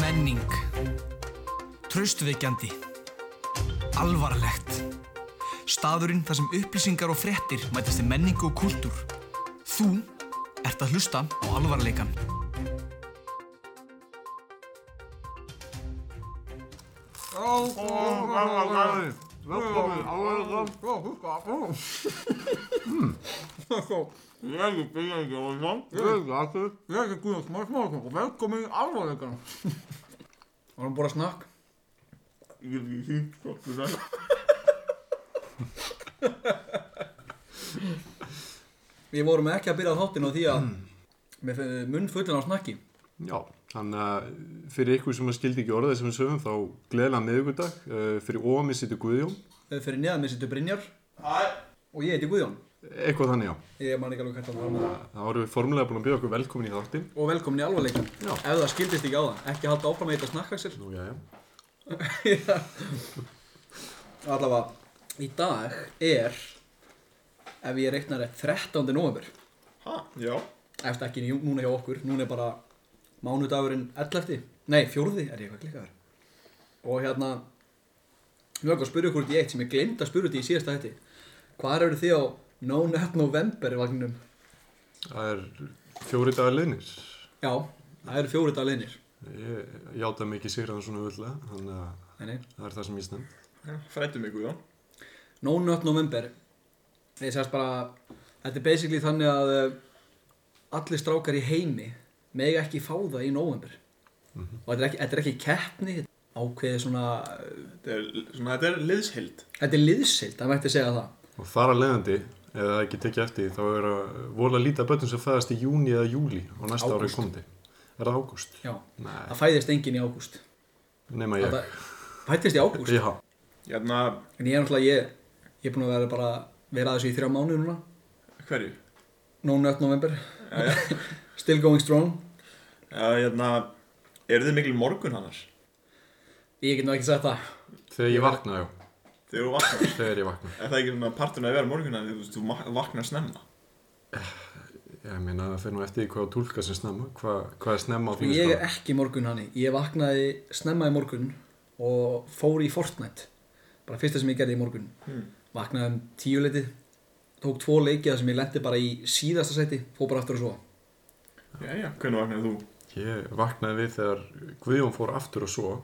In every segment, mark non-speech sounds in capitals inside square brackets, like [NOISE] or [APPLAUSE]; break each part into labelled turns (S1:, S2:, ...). S1: Menning Traustvekjandi Alvarlegt Staðurinn þar sem upplýsingar og fréttir mætast í menningu og kúltúr Þú ert að hlusta á alvarleikan
S2: Ég er ekki Björn Jónsson,
S3: Ég heiti Guðjón Smári Smárasson og velkomin í alvarleikan. Varum bara snakk?
S2: ég er ekki hýtt okkur það.
S3: Við vorum ekki að byrja þáttinn á því að með eh, munn fullan á snakki.
S4: Já, þannig að fyrir ykkur sem að skildi ekki orðið sem við sögum þá gleðilega miðugundag, uh, fyrir ómið sittu Guðjón,
S3: Eh, Fyrir neðan mér sittur Brynjar. Hæ. Og ég heiti Guðjón.
S4: eitthvað þannig já.
S3: Ég man ekki alveg hvert að var með það.
S4: Þá erum við formulega búin að bjóða okkur velkomin í þáttinn.
S3: Og velkomin í alvarleikan.
S4: Já.
S3: Ef það skildist ekki á það, ekki halda áfram að heita snakkaksel.
S4: Nú, já, já.
S3: Allavega, í dag er, ef ég reiknar rétt, 13. november.
S2: Hæ? Já.
S3: Eftir ekki njú- núna hjá okkur, núna er bara mánudagurinn 11. Nei, 4. er ég eitthvað klikkaður. Og hérna, ég var ekki að spyrja ykkur út í eitt sem ég gleymd að spyrja út í í síðasta hætti. Hvar eru þið á No Nut November vagninum?
S4: Það er fjóri dagar liðnir.
S3: Já, það eru fjóri dag leðinir.
S4: Ég játa mig ekki sigraðan svona völdlega, þannig að
S3: Nei, nei.
S4: það er það sem ég stemd.
S2: Frættu mig Guðjón.
S3: No Nut November ég sérst bara þetta er basically þannig að uh, allir strákar í heimi mega ekki fá það í november og þetta er ekki, þetta er ekki keppni ákveðið svona uh,
S2: Þetta er, svona, þetta er liðshild.
S3: þetta er liðsild, það mætti segja það
S4: Og þar að leiðandi, eða það ekki tekið eftir, því, þá er að vola lítið að börnum sem fæðast í júni eða júli á næsta ári
S3: Ágúst.
S4: komandi. Er það ágúst?
S3: já,
S4: Nei,
S3: það fæðist enginn í ágúst
S4: nema ég.
S3: það fættist í ágúst
S4: Já,
S2: Hérna,
S3: en ég er náttúrulega, ég, ég er búin að vera bara vera að þessu í þrjá mánu núna
S2: hverju?
S3: No Nut November [LAUGHS] still going strong
S2: Já, hérna, eru þið mikil morgun annars?
S3: ég get nú ekki sagt það
S4: þegar ég vakna, já.
S2: Þegar þú vaknar.
S4: Þegar ég vakna.
S2: Er það ekki svona parturinn að vera morgun annars? Þú, veist, þú ma- vaknar snemma.
S4: Ég meina það fer nú eftir því hvað þú tólka sem snemma, hvað, hvað er snemma á
S3: Sko,
S4: þínu
S3: Ég er
S4: skala?
S3: ekki morgun hanni, ég vaknaði snemma í morgun og fór í Fortnite bara fyrsta sem ég gerði í morgun
S4: Hmm.
S3: vaknaði um tíu letið tók tvo leikið sem ég lendi bara í síðasta seti fór bara aftur og svo
S2: Jæja, hvernig vaknar þú?
S4: Ég vaknaði við þegar Guðjón fór aftur og svo,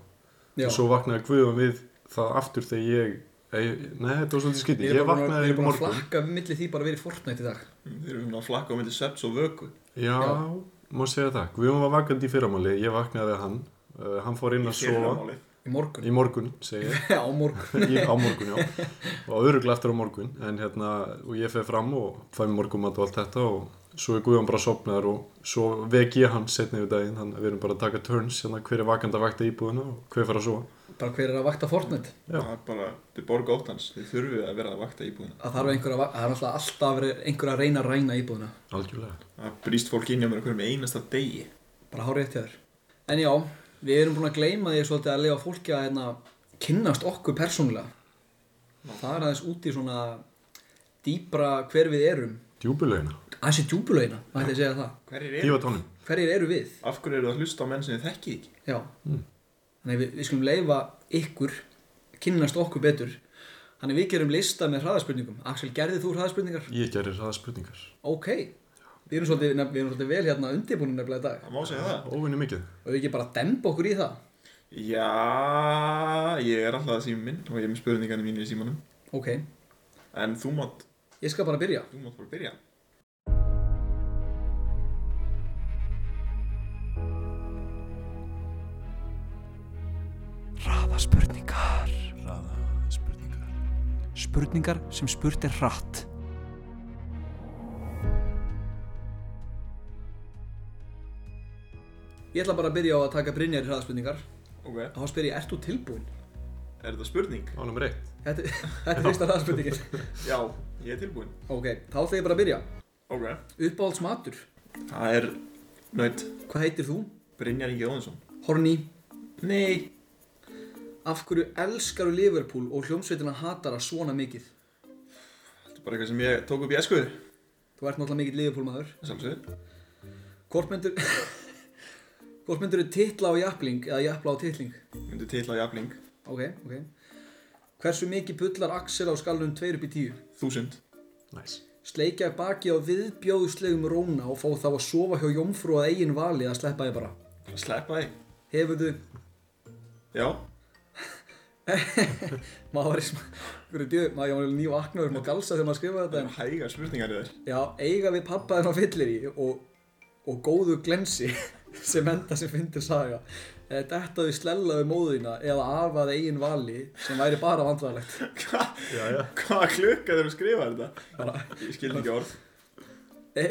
S3: Já,
S4: og svo vaknaði Guðjón við það aftur þegar ég, ég nei þetta var svolítið skytti,
S3: ég er
S4: ég
S3: bara búin að- ég
S4: vaknaði
S3: er búin að
S4: morgun.
S3: flakka millir því bara að vera í Fortnite í dag
S2: Þeir eru svona að flakka á myndi sveps og vöku.
S4: Já, má segja það, Guðjón var vakandi í fyrramáli, ég vaknaði við hann, uh, hann fór inn að sofa
S2: Fyrramálið.
S3: í morgun,
S4: í morgun, segi ég.
S3: [LAUGHS] já morgun
S4: Í, á morgun, já, og öruglega eftir á morgun, en hérna, og ég fer fram og fæ mér morgumat og allt þetta og svo er Guðjón bara sopnaður og svo vek ég hann setni yfir daginn, þannig að við erum bara að taka turns, hérna hver er vakandi að vakta íbúðina og hver fer að sofa.
S3: bara hver er að vakta Fortnite
S4: Já.
S2: Það er bara, þið borga óttans. Þið þurfið að vera að vakta íbúðina.
S3: að það er einhver að, vak- það er náttúrulega alltaf verið einhver að reyna að ræna íbúðina
S4: Algjörlega.
S2: Það brýst fólk inn hjá mér á hverjum einasta degi.
S3: bara hár rétt hjá þér en já, við erum búin að gleyma því svolítið að lifa fólki að hérna, kynnast okkur persónulega það er aðeins út í svona dýpra hver við erum
S4: Djúbulegina,
S3: aðeins í djúbulögina, mætti ég segja það
S2: Hverjir eru?
S4: dívatónum.
S3: hverjir eru við,
S2: Af hverju eru það að hlusta á menn sem þið þekkið ekki?
S3: já þannig við, við skulum leifa ykkur kynnast okkur betur þannig við gerum lista með hraðaspurningum Axel, gerðið þú hraðaspurningar?
S4: Ég gerir það spurningar.
S3: ok, við erum svolítið, nefn- við erum svolítið vel hérna undirbúinu nefnilega í dag
S2: Það má segja það.
S4: Óvinni mikið.
S3: og við ekki bara demba okkur í það
S2: Já, ég er alltaf að síma minn og ég er með spurningarnir mínu í símanum.
S3: ok,
S2: En þú mátt,
S3: ég skal bara byrja
S2: þú mátt bara byrja.
S1: Hraða spurningar
S4: Hraða spurningar.
S1: Spurningar sem spurt er hratt
S3: Ég ætla bara að byrja á að taka Brynjar í hraðaspurningar
S2: Ok.
S3: og þá spyr ég, ert þú tilbúinn?
S2: Er þetta spurning?
S4: Á nummer eitt.
S3: Þetta, þetta er [LAUGHS] fyrsta hraðaspurningin
S2: Já, ég er tilbúinn.
S3: Ok, þá ætla ég bara að byrja
S2: Ok.
S3: Uppáhaldsmatur,
S2: Það er nöyt
S3: hvað heitir þú?
S2: Brynjar Ingi Óðinsson.
S3: Horni,
S2: Nei.
S3: af hverju elskaru Liverpool og hljómsveitina hatara svona mikið?
S2: Þetta er bara eitthvað sem ég tók upp í eskuðu.
S3: Þú ert náttúrulega mikill Liverpool maður
S2: Sjálfsögur.
S3: Hvort myndur [LAUGHS] Hvort myndirðu titla á jafling eða jafla á titling?
S2: Myndi titla á jafling
S3: Ok, ok. Hversu mikið bullar Axel á skalunum 2 upp í 10?
S2: Þúsund
S4: Næs.
S3: Sleikja baki á viðbjóðslegum róna og fá þá að sofa hjá jómfrú að eigin vali að sleppa þið bara.
S2: Sleppa þig
S3: Hefurðu [LAUGHS]
S2: Já
S3: maður var í smá hverju djöð, maður var nýju aknaður maður galsa þegar maður skrifaði
S2: Það
S3: þetta
S2: eru hægar spurningar í [LAUGHS] þér
S3: en já, eiga við pappa þeirra fyllir í og, og góðu glensi [LAUGHS] sem enda sem fyndir saga eða dettaðu slellaðu móðina eða afaði eigin vali sem væri bara vandræðalegt
S2: Hva?
S4: Já, já.
S2: Hvaða klukka þeir eru að skrifa þetta? Ég skil ekki orð
S3: e,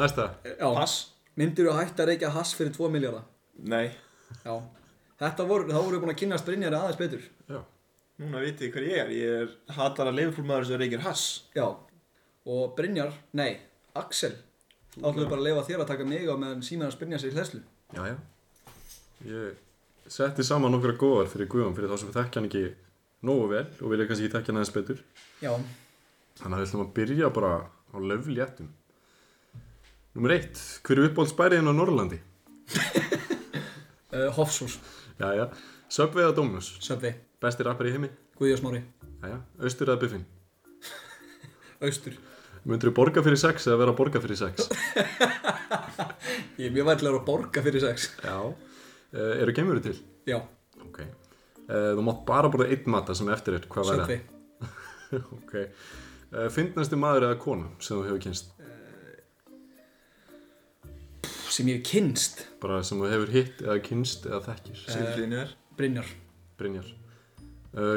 S4: Næsta.
S3: já,
S2: Pass
S3: myndir þú hægt að reykja hass fyrir 2 miljardar
S2: Nei
S3: já, þetta voru, þá voru við búin að kynast Brynjar aðeins betur
S4: Já.
S2: Núna vitið þið hver ég er Ég er hatar að leifupúlmaður sem reykir hass
S3: já, og Brynjar, nei Axel, þá ætlum við bara að leifa þér að taka mig á meðan símaðan Brynjar sér hlæslu
S4: Já, já. Ég setti saman nokkra góðar fyrir Guðan fyrir þá sem þekkja hann ekki nógu vel og vilja kannski þekkja hann aðeins betur.
S3: já,
S4: Þannig að við ætlum að byrja bara á löfléttum. Númer eitt, hver er uppáhaldsbæriðin á Norrlandi?
S3: uh, Hofsús,
S4: Já, já. Subway eða Dominus?
S3: Söfvi
S4: Besti rappar í heimi?
S3: Guðjósmári,
S4: Já, já. Austur eða Buffin?
S3: Austur
S4: Myndur þú borga fyrir sex eða vera að borga fyrir sex?
S3: Ég er mjög værtilegur að borga fyrir sex
S4: já. Uh, eru geimurðu til?
S3: Já,
S4: Ok. Uh, þú mátt bara borða einn matta sem eftir er. Hvað væri það?
S3: Sökvi
S4: [LAUGHS] Ok. Uh, Fyndnastu maður eða kona sem þú hefur kynst?
S3: Sem ég er kynst
S4: Bara sem þú hefur hitt eða kynst eða þekkir?
S2: Segðu hlýðinu þér
S3: Brynjar
S4: Brynjar. Uh,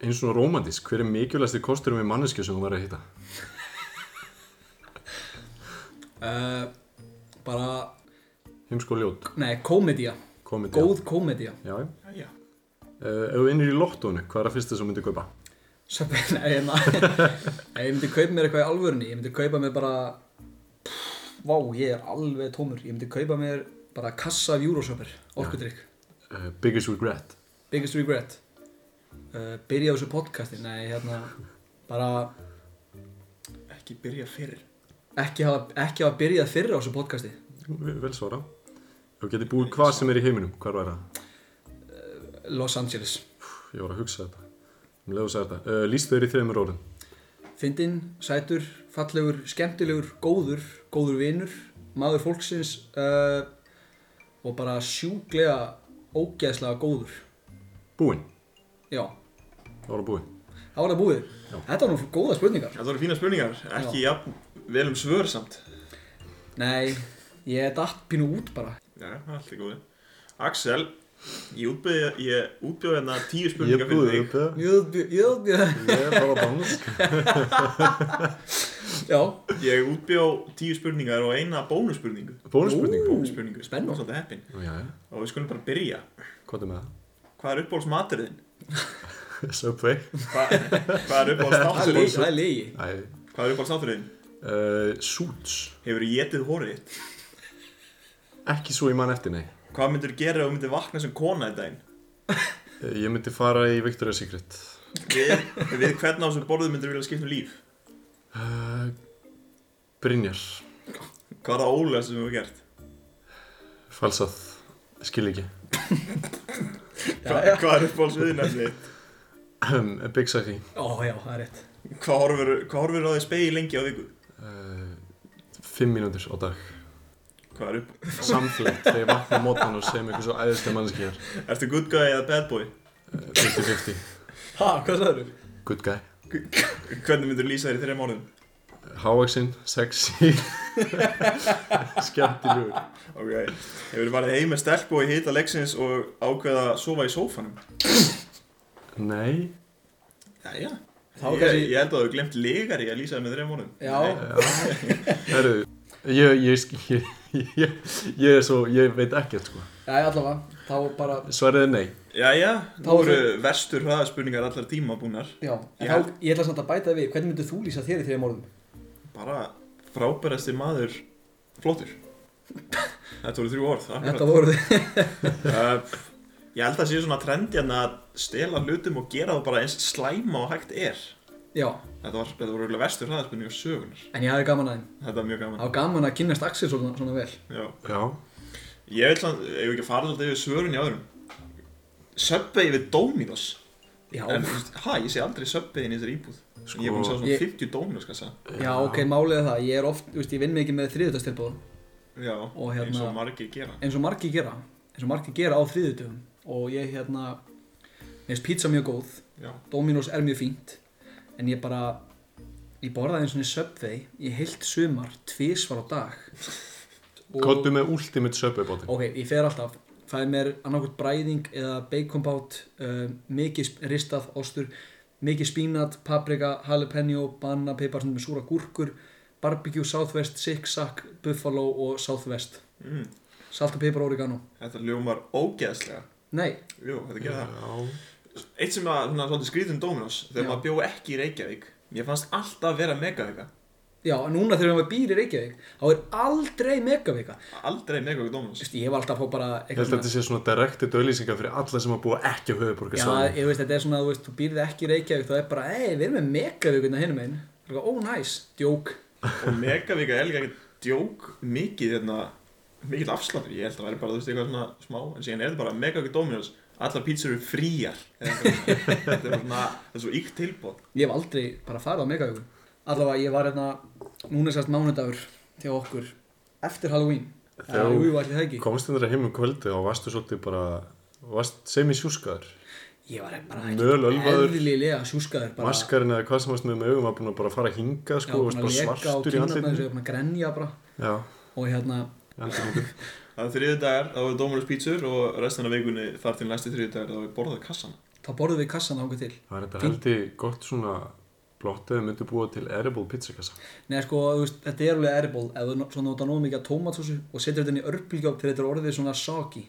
S4: eins og romantisk, hver er mikilvægasti kosturum í mannesku sem þú verður að hitta?
S3: uh, Bara,
S4: Heimsko ljót,
S3: nei, komedía
S4: komedi.
S3: Góð komedía
S4: Já.
S2: Jæja
S4: Uh, ef þú vinnir í lottónu, hvað er að fyrsta sem þú myndir kaupa?
S3: Söfvi, nei,
S4: [LAUGHS]
S3: en Nei, Ég myndi kaupa mér eitthvað í alvörunni Ég myndi kaupa mér bara Pff, Vá, ég er alveg tómur Ég myndi kaupa mér bara kassa af Eurosopper Orkudrykk
S4: Uh, biggest regret.
S3: Biggest regret uh, Byrja á þessu podcasti Nei, hérna Bara
S2: Ekki byrja fyrr
S3: ekki hafa, ekki hafa byrjað fyrr á þessu podcasti
S4: Vel vel svara. Ef Þú getur búið hvað sem er í heiminum, hvað er það?
S3: Los Angeles
S4: Ég var að hugsa þetta. Um leið og segja þetta. Uh, Lýst þau í þreymur orðin.
S3: Fyndinn, sætur, fallegur, skemmtilegur, góður, góður vinur, maður fólksins uh, og bara sjúklega, ógeðslega góður.
S4: Búinn.
S3: Já,
S4: Það var að búinn.
S3: það var það búið. Þetta var nú góða spurningar.
S2: Það voru fína spurningar Ekki jafn vel um svör samt
S3: Nei, ég datt pínu út bara.
S2: Já, allt er góði Axel Ég útbjóði, ég útbjóði hérna tíu
S4: Ég
S2: spurningar fyrir
S4: búið
S2: þig
S4: upp það.
S3: Jöðbjörn, jöðbjörn.
S4: Ég er bara bánus.
S3: Já,
S2: Ég útbjóð tíu spurningar og eina bónusspurningu
S4: [LAUGHS] Bónusspurning.
S2: Bónusspurningu
S3: spennandi.
S2: Svolítið heppin
S4: Nú, Já, já.
S2: Og við skulum bara byrja
S4: Hvað er með það?
S2: Hvað er uppbólsmaturinn?
S4: [LAUGHS] Subway.
S2: Hvað hvað er
S3: það er lei-
S2: uppbólsstátturinn?
S3: það er leiði.
S4: Æ,
S2: Hvað er uppbólsstátturinn?
S4: uh, Suits.
S2: Hefur þú getið hórið þitt?
S4: Ekki svo ég man eftir, nei.
S2: Hvað myndur þú gera ef þú myndir vakna sem kona í daginn?
S4: Uh, Ég myndi fara í Victoria's Secret.
S2: Við, við hvernig á þessum borðum myndur þú vilja skipta um líf?
S4: Uh, Brynjar.
S2: Hvað er það ólega sem þú hefur gert?
S4: Falsað. Skil ekki.
S2: Hva, Hvað er uppbólsviðinæmið þitt?
S4: Big Sucky.
S3: Ó, já, það er rétt.
S2: Hvað horfur, hvað horfur á því spegi lengi á viku?
S4: Uh, fimm mínútur á dag.
S2: Hvað er upp?
S4: Samflegt þegar ég vakna á mótan og segja mig eitthvað svo æðislega mannski hér.
S2: Ertu good guy eða bad boy?
S4: Uh, 50-50.
S3: Ha, hvað sagður þú?
S4: Good guy.
S2: Hvernig myndur þú lýsa þér í þreim orðum?
S4: Hávaxinn. Sexy. [LAUGHS] Skemmtilegur.
S2: Ok, hefur þú farið heim með stelpu og hita leiksins og ákveða að sofa í sófanum?
S4: Nei.
S2: Jæja,
S3: Þá
S2: ég,
S3: kannski-
S2: ég held að þú glemt legar í að lýsa þér með þreim orðum
S3: Já,
S4: Herru, ég, ég, sk- [LAUGHS] ég, ég, ég er svo, ég veit ekkert sko.
S3: já, allavega. Þá bara,
S4: Svarið er nei.
S2: Jæja,
S3: Þá
S2: nú
S3: er
S2: eru verstur hraðaspurningar allar tíma búnar
S3: já. En
S2: Ég
S3: þá,
S2: held-
S3: ég ætla samt að bæta við. Hvernig myndir þú lýsa þér í þeirri morðum?
S2: Bara frábærasti maður
S3: [LAUGHS]
S2: flottur Þetta voru þrjú orð, akkurat
S3: Þetta voru
S2: uh, Ég held að það sé svona trendi hérna að stela hlutum og gera það bara eins slæma og hægt er
S3: [LAUGHS] Já,
S2: Þetta, var, þetta voru örugglega verstur hraðaspurningar sögunar
S3: en ég hafði gaman að þeim.
S2: Þetta var mjög
S3: Það
S2: gaman
S3: var gaman að kynnast Axel svona, svona vel.
S2: Já,
S4: Já.
S2: Ég vil svona, ef ekki að fara alltaf yfir svörun í öðrum Subway við Dominos
S3: Já,
S2: En, þú veist, Hæ, ég sé aldrei Subway inn í þessari íbúð
S4: Sko-
S2: Ég er búin að sjá svona
S3: Ég-
S2: 50 Dominos kassa
S3: já, ok, málið er það Ég er oft, þú veist, ég vinn mikið með þriðutastilbúðum
S2: Já,
S3: Og hérna-
S2: eins og margir gera
S3: eins og margir gera eins og margir gera á þriðutum og ég hérna mér finnst pizza mjög góð
S2: Já,
S3: Dominos er mjög fínt en ég bara ég borðaði eins og niður Subway í heilt sumar tvísvar á dag Og-
S4: Kottu með Ultimate Subway bóti
S3: ok, ég fer alltaf það er mér annarkvæmt bræðing eða baconbát uh, mikið sp- ristað ostur mikið spínat, paprika, jalapeno banna, pipar með súra gúrkur barbecue, southwest, siksak buffalo og southwest
S2: mm,
S3: salt og pipar, oregano
S2: þetta ljómar ógeðslega
S3: nei,
S2: Jú, þetta gerir það
S4: Já,
S2: Eitt sem að, svona, svona skrýtum Dominos Þegar
S3: Já.
S2: maður bjó ekki í Reykjavík Mér fannst alltaf vera megavika
S3: Já, en núna þegar við erum að býra í Reykjavík þá er aldrei megavika
S2: Aldrei megavika Dominos
S3: Vist, Ég var alltaf að fá bara
S4: ég held að þetta sé svona direkti dölýsingar fyrir alla sem að búa ekki á
S3: Já,
S4: höfuborgarsvæðinu.
S3: ég veist, þetta er svona, þú veist, þú býrði ekki í Reykjavík þá er bara, ei, við erum með megavíkuna hinum einn Ó, oh, nice, djók
S2: og megavika er líka ekkert djók mikið hérna, mikill afsláttur ég held að það væri bara, þú veist, eitthvað svona smá en síðan er þetta bara megavika Dominos allar pítsur eru fríar Eða eitthvað svona. þetta er bara svona, þetta er svo ykt tilbóð
S3: Ég hef aldrei bara farið á megavíku Allavega, ég var hérna, núna er sérst mánudagur hjá okkur Eftir Halloween
S4: Þegar
S3: Eða,
S4: þú-
S3: Jú, allir það ekki
S4: Komst þér heim um kvöldi og varstu svolítið bara, varst semisjúskaður.
S3: Ég var bara
S4: Mölölvaður.
S3: eðlilega sjúskaður bara
S4: Maskarinn eða hvað sem varst með með augum var búin að bara fara að hinga
S3: Já,
S4: sko, og
S3: búin
S4: varst
S3: að leka
S4: bara
S3: á
S4: svartur í
S3: kinnarnar eins og
S4: andlitinu.
S3: ég var búin að grenja bara
S4: Já,
S3: Og hérna,
S4: í andlitinu.
S2: það er þriðu dagar, þá er Dominos pítsur og restina af vikunni þar til næstu þriðu dagar þá er borðað kassan
S3: þá borðum við kassan ánga til
S4: Það er þetta
S3: Fín.
S4: held ég gott svona blott ef þau myndu búa til edible pizzakassa.
S3: Nei, sko, þú veist, þetta er alveg edible ef þú no- svona nota nóg mikið af tómatsósu og setur þetta inn í örbílgjók til þetta er orðið svona soggy.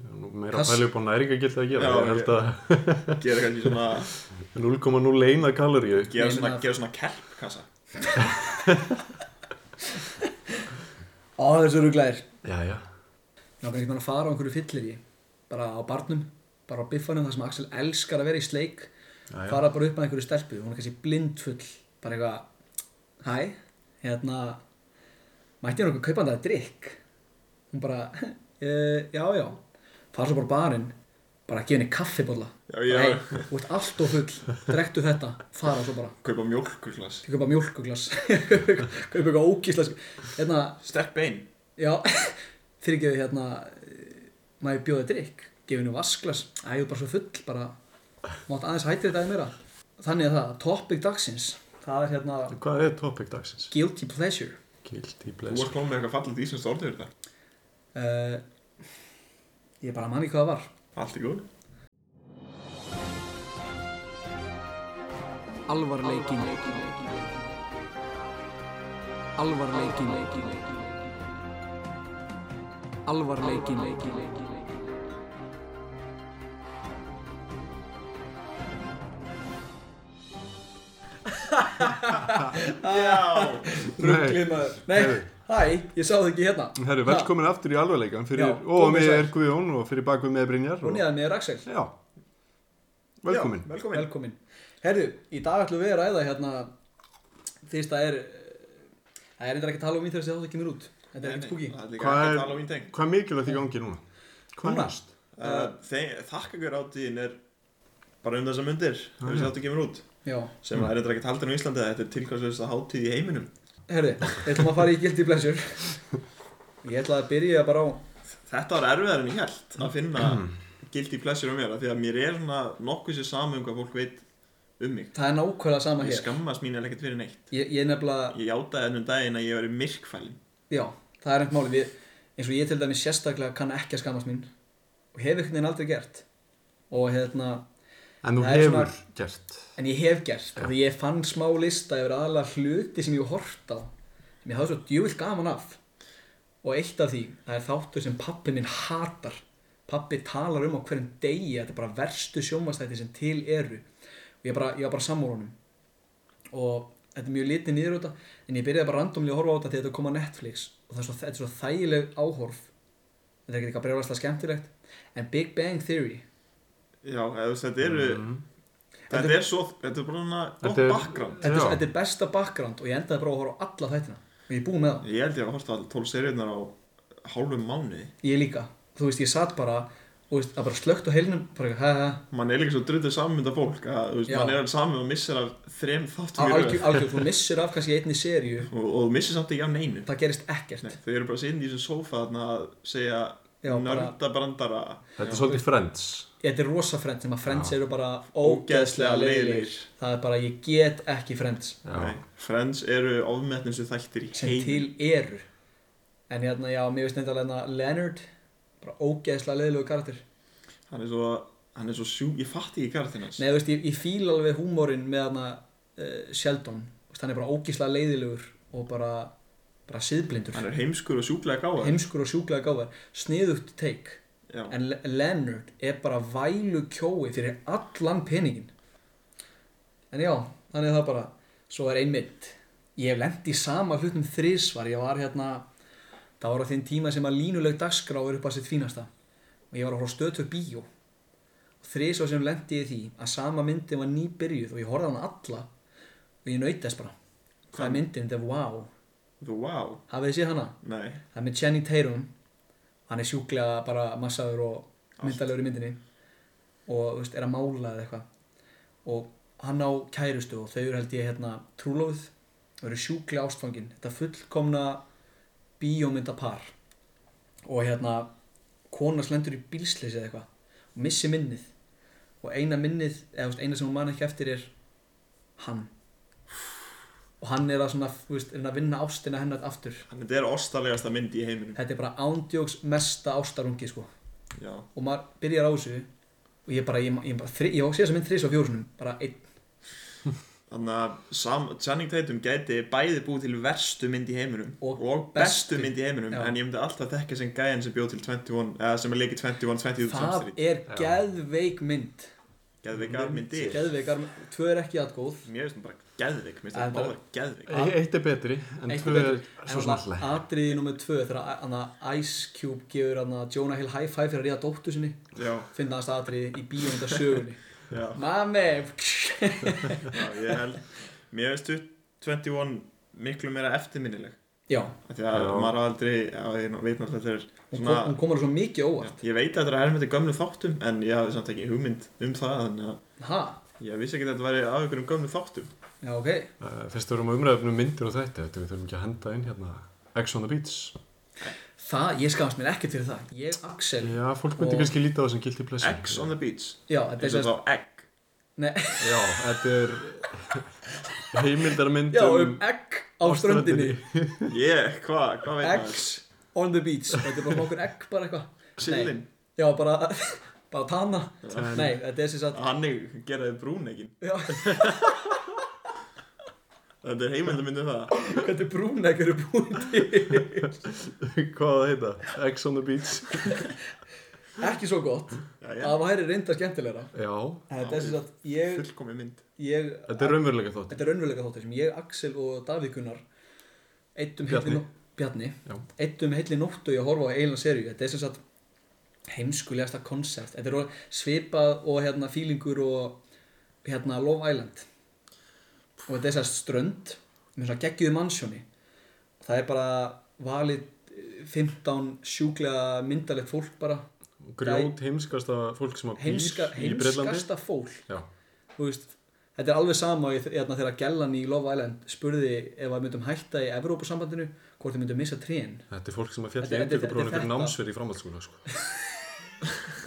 S4: Ég er nú Meira
S3: Kass-
S4: að pæla upp á næringagildið að gera.
S2: Já,
S4: Ég held að
S2: gera kannski svona,
S4: 0,01 kaloríu.
S2: gera
S3: Ég
S2: svona,
S3: meina-
S2: gera svona kelp kassa
S3: Á, það er svo ruglæðir.
S4: Já, já.
S3: Ná, kannski maður að fara á einhverju fyllir í, bara á barnum, bara á biffanum þar sem Axel elskar að vera í sleik,
S4: Já, já.
S3: fara bara upp að einhverju stelpu, hún er kannski blindfull, bara eitthvað, hæ, hérna, mætti ég nokkuð kaupanda að drikk? Hún bara, e, já, já, fara svo bara á barinn, bara að gefa henni kaffibólla.
S2: Já, já.
S3: Hey, þú ert allt og full, drektu þetta, fara svo bara.
S2: kaupa mjólkurglas,
S3: Ég kaupa mjólkuglas [LAUGHS] Kaupa eitthvað ógísla Hérna,
S2: sterk bein
S3: já [LAUGHS] Fyrir ekki hérna eh, Maður bjóði drikk, gefið henni vasklas Æ, ég er bara svo full, bara Mátt aðeins hættir þetta í meira Þannig að það, topic dagsins Það er hérna
S4: Hvað er topic dagsins?
S3: guilty pleasure
S4: Guilty
S2: þú varst
S4: pleasure.
S2: komið með eitthvað fallið íslenskt orðið fyrir þetta
S3: uh, Ég bara manni hvað það var
S2: allt í góð
S3: Alvarleikin Alvarleikin Alvarleikin
S2: já,
S4: Nei,
S3: Glimaður Nei,
S4: Heyrðu.
S3: hæ, ég sá það ekki hérna
S4: herru, velkomin aftur í alvarleikan
S3: Já,
S4: fyrir, og
S3: komið
S4: mig
S3: sæl.
S4: er Guðjón og fyrir bakvið með Brynjar.
S3: Og neðan er hérna Axel
S4: Já, velkomin.
S2: já, velkomin.
S3: Velkomin Herðu, í dag ætlum við að ræða hérna Fyrst það er eh, Það er eitthvað ekki að tala um mín þegar þessi þátt kemur út Þetta er
S2: Nei, nei,
S3: ekkert spooky
S2: það er líka
S4: Hvað
S2: ekki
S4: er-
S2: Halloween teng
S4: Hvað er mikilvægt í gangi núna? Hvað
S3: Núna?
S4: næst?
S2: Uh, Þakkagur átíðin er bara um þessa myndir þegar þessi þáttu kemur út
S3: Já,
S2: sem mm. er eitthvað ekki haldin á Íslandi þetta er tilkvæmslega hátíð í heiminum
S3: herðu, við ætlum að fara í guilty pleasure Ég ætla að byrja bara á
S2: Þetta var erfiðar en ég held að finna guilty pleasure um mér af því að mér er svona nokkuð sér sami um hvað fólk veit um mig
S3: Það er nákvæmlega sama
S2: Ég
S3: hér
S2: skammast mín eða ekkert fyrir neitt
S3: Ég, ég nefnilega
S2: Ég játaði ennum daginn að ég veri myrkfælin
S3: Já, það er einhvern máli við, eins og ég til dæmis sérstaklega kann ekki að skammast mín og hef einhvern veginn aldrei gert og hérna,
S4: En þú
S3: Það er svona-
S4: hefur gert.
S3: en ég hef gert af því ég fann smá lista yfir aðalega hluti sem ég hort á sem ég hafði svo djúvill gaman af og eitt af því, það er þáttur sem pappi minn hatar pappi talar um á hverjum degi að þetta er bara verstu sjónvastætti sem til eru og ég, bara, ég var bara sammúrunum og þetta er mjög litið niður út en ég byrjaði bara randomlega að horfa á þetta þegar þetta kom á Netflix og það er svo, þetta er svo þægileg áhorf þetta er ekkert eitthvað brjóðast skemmtilegt en Big Bang Theory
S2: Já, eða þú veist, þetta eru Mm. Þetta er svo, þetta er bara svona gott
S4: Þetta er-
S2: bakgrand
S3: þetta er, svo-
S4: Já.
S3: þetta er besta background og ég endaði bara á að horfa á alla þættina og ég er búinn með það
S2: Ég held ég að horta allir tól seriðnar á hálfum mánuði
S3: Ég líka, þú veist, ég satt bara og veist, að bara slögt á heilnum bara, hæ, hæ,
S2: mann er líka svo drullið sammynda fólk að þú veist,
S3: Já.
S2: mann er alveg sammynd og missir af þrem
S3: hæ
S2: þáttum í röð.
S3: algjör, algjör, þú missir af kannski einni seríu
S2: og, og þú missir samt ekki af neinu
S3: það gerist ekkert
S2: Nei, þau eru bara sinn í þessum sófa þarna að segja
S3: Já, bara-
S2: nördabrandara
S4: Þetta er svolítið friends
S3: Þetta er rosa frends, sem að frends
S4: Já.
S3: eru bara
S2: Ógeðslega
S3: ógeðslega leiðilegir
S2: leiðilegir.
S3: Það er bara, ég get ekki frends
S4: Já,
S2: Nei, Friends eru ofmetnum sem þættir í
S3: sem
S2: heim
S3: til eru En hérna, já, mér veist nefndalega hérna Leonard bara ógeðslega leiðilegu karakter
S2: hann er svo, hann er svo sjú, ég fatt ekki karatinn hans
S3: Nei, þú veist, ég, ég fíl alveg húmórin með hérna uh, Sheldon Þú veist, hann er bara ógeðslega leiðilegur og bara, bara siðblindur
S2: hann er heimskur og sjúklega gáðar
S3: heimskur og sjúklega gáfar sniðugt teik
S2: Já,
S3: en Le- Leonard er bara vælu kjói fyrir allan peningin en já, þannig er það bara svo er einmitt ég hef lent í sama hlutum þrísvar ég var hérna það var á þeim tíma sem að línuleg dagskrá er upp að sitt fínasta og ég var að horfa stöðtur bíó og þrísvar sem lendi ég í því að sama myndin var nýbyrjuð og ég horfði á hana alla og ég nautið þess bara hvað er myndin, þetta er wow
S2: þú, wow,
S3: hafið þið séð hana?
S2: nei
S3: Það er með Channing Tatum Hann er sjúklega bara massaður og myndalegur í myndinni og þú veist, er að mála eða eitthvað og hann á kærustu og þau eru held ég hérna trúlóð og eru sjúklega ástfangin þetta fullkomna bíómyndapar og hérna kona slendur í bílsleysi eða eitthvað og missi minnið og eina minnið, eða þú veist, eina sem hún man ekki eftir er hann og hann er að svona, þú veist, er að vinna ástina hennar aftur
S2: hann þetta er ostalegasta mynd í heiminum
S3: þetta er bara ándjóks mesta ástarungi sko.
S2: Já,
S3: og maður byrjar á þessu og ég bara, ég, ég bara, þri, ég sé þess að mynd þrís á fjórunum bara einn,
S2: þannig að Sam, Channing Tatum gæti bæði búið til verstu mynd í heiminum
S3: Og
S2: bestu,
S3: bestu.
S2: mynd í heiminum
S3: Já.
S2: en ég myndi alltaf þekka sem gæjan sem bjóð til 21 eða sem er leikið 21 20
S3: það
S2: Street
S3: er
S4: Já.
S3: geðveik mynd
S2: geðveikar myndir
S3: geðveikar, tvö er ekki aðgóð
S2: Mér finnst hún bara geðvik, mér finnst
S3: En
S2: það
S3: bara-
S2: bara geðvik
S4: E- Eitt er betri en
S3: Eitt er
S4: tvö er
S3: betri.
S4: svo snarlega
S3: atriði nummer tvö þegar hana, Ice Cube gefur hana, Jonah Hill high five fyrir að ríða dóttu sinni
S2: Já,
S3: finna hans atriði í bíómynda
S2: [LAUGHS]
S3: sögunni
S2: já,
S3: mami
S2: já, ég held Mér finnst 21 miklu meira eftirminnileg
S3: [LAUGHS] já,
S2: Af Því að
S4: Já.
S2: maður á aldrei, já, ég veit náttúrulega þegar
S3: hún,
S2: svona
S3: kom, hún komur svo mikið óvart
S2: Ég veit að þetta er að hermyndi gömlu þáttum en ég hafði samt ekki hugmynd um það þannig að
S3: ha,
S2: ég vissi ekki að þetta væri af ykkur um gömlu þáttum
S3: já ok
S4: Uh, Fyrst við erum að umræðum um myndir og þetta Þetta við þurfum ekki að henda inn hérna X on the Beach
S3: það, ég skafast mér ekkert fyrir það ég, Axel,
S4: Já, fólk myndi
S3: Og-
S4: kannski líta á það sem gildi plessin
S2: Eggs on the beach,
S3: já, þetta er
S2: eins og
S3: sérst
S2: þá egg
S3: nei
S4: Já, þetta
S3: [LAUGHS]
S4: er heimildarmynd
S3: Já, um egg á ströndinni
S2: Ég, hvað, hvað veit maður?
S3: Eggs on the beach Þetta er bara nokkur egg bara eitthvað
S2: Sillin,
S3: Já, bara, [LAUGHS] bara tana Nei, þetta er sem sagt
S2: hann geraði brún ekki
S3: Já, [LAUGHS]
S2: Þetta er heimildamynd um það
S3: Hvernig brún egg eru búin til
S4: [LAUGHS] Hvað það heita? X on the Beach
S3: Ekki svo gott
S2: Já, já,
S3: Það væri reynda skemmtilegra
S4: Já,
S3: En Þetta er sem sagt Ég,
S2: fullkomi mynd
S3: ég
S4: þetta er raunverulega þótt
S3: Þetta er raunveruleika þáttir sem ég, Axel og Davík Gunnar eittum
S4: Bjarni.
S3: heilli nó- Bjarni
S4: Já.
S3: eittum heilli nóttu í að horfa á eiginlega serju þetta er sem sagt heimskulegasta konsept þetta er orðið svipað og hérna fílingur og hérna Love Island og þetta er sem sagt strönd með svona geggjum mansjóni það er bara valið eh, 15 sjúklega myndalegt fólk bara
S4: Grjót heimskasta fólk sem að býr
S3: Heimska,
S4: í Breitlandi
S3: heimskasta fólk
S4: Já,
S3: þú veist, þetta er alveg sama í- hérna, þegar Gellan í Love Island spurði ef að myndum hætta í Evrópusambandinu hvort þau myndum missa trén
S4: þetta er fólk sem að fjalla
S3: Þetta- þetta-
S4: eintökuprófinu
S3: þetta er
S4: fyrir
S3: þetta.
S4: námsverð í framhaldsskóla sko.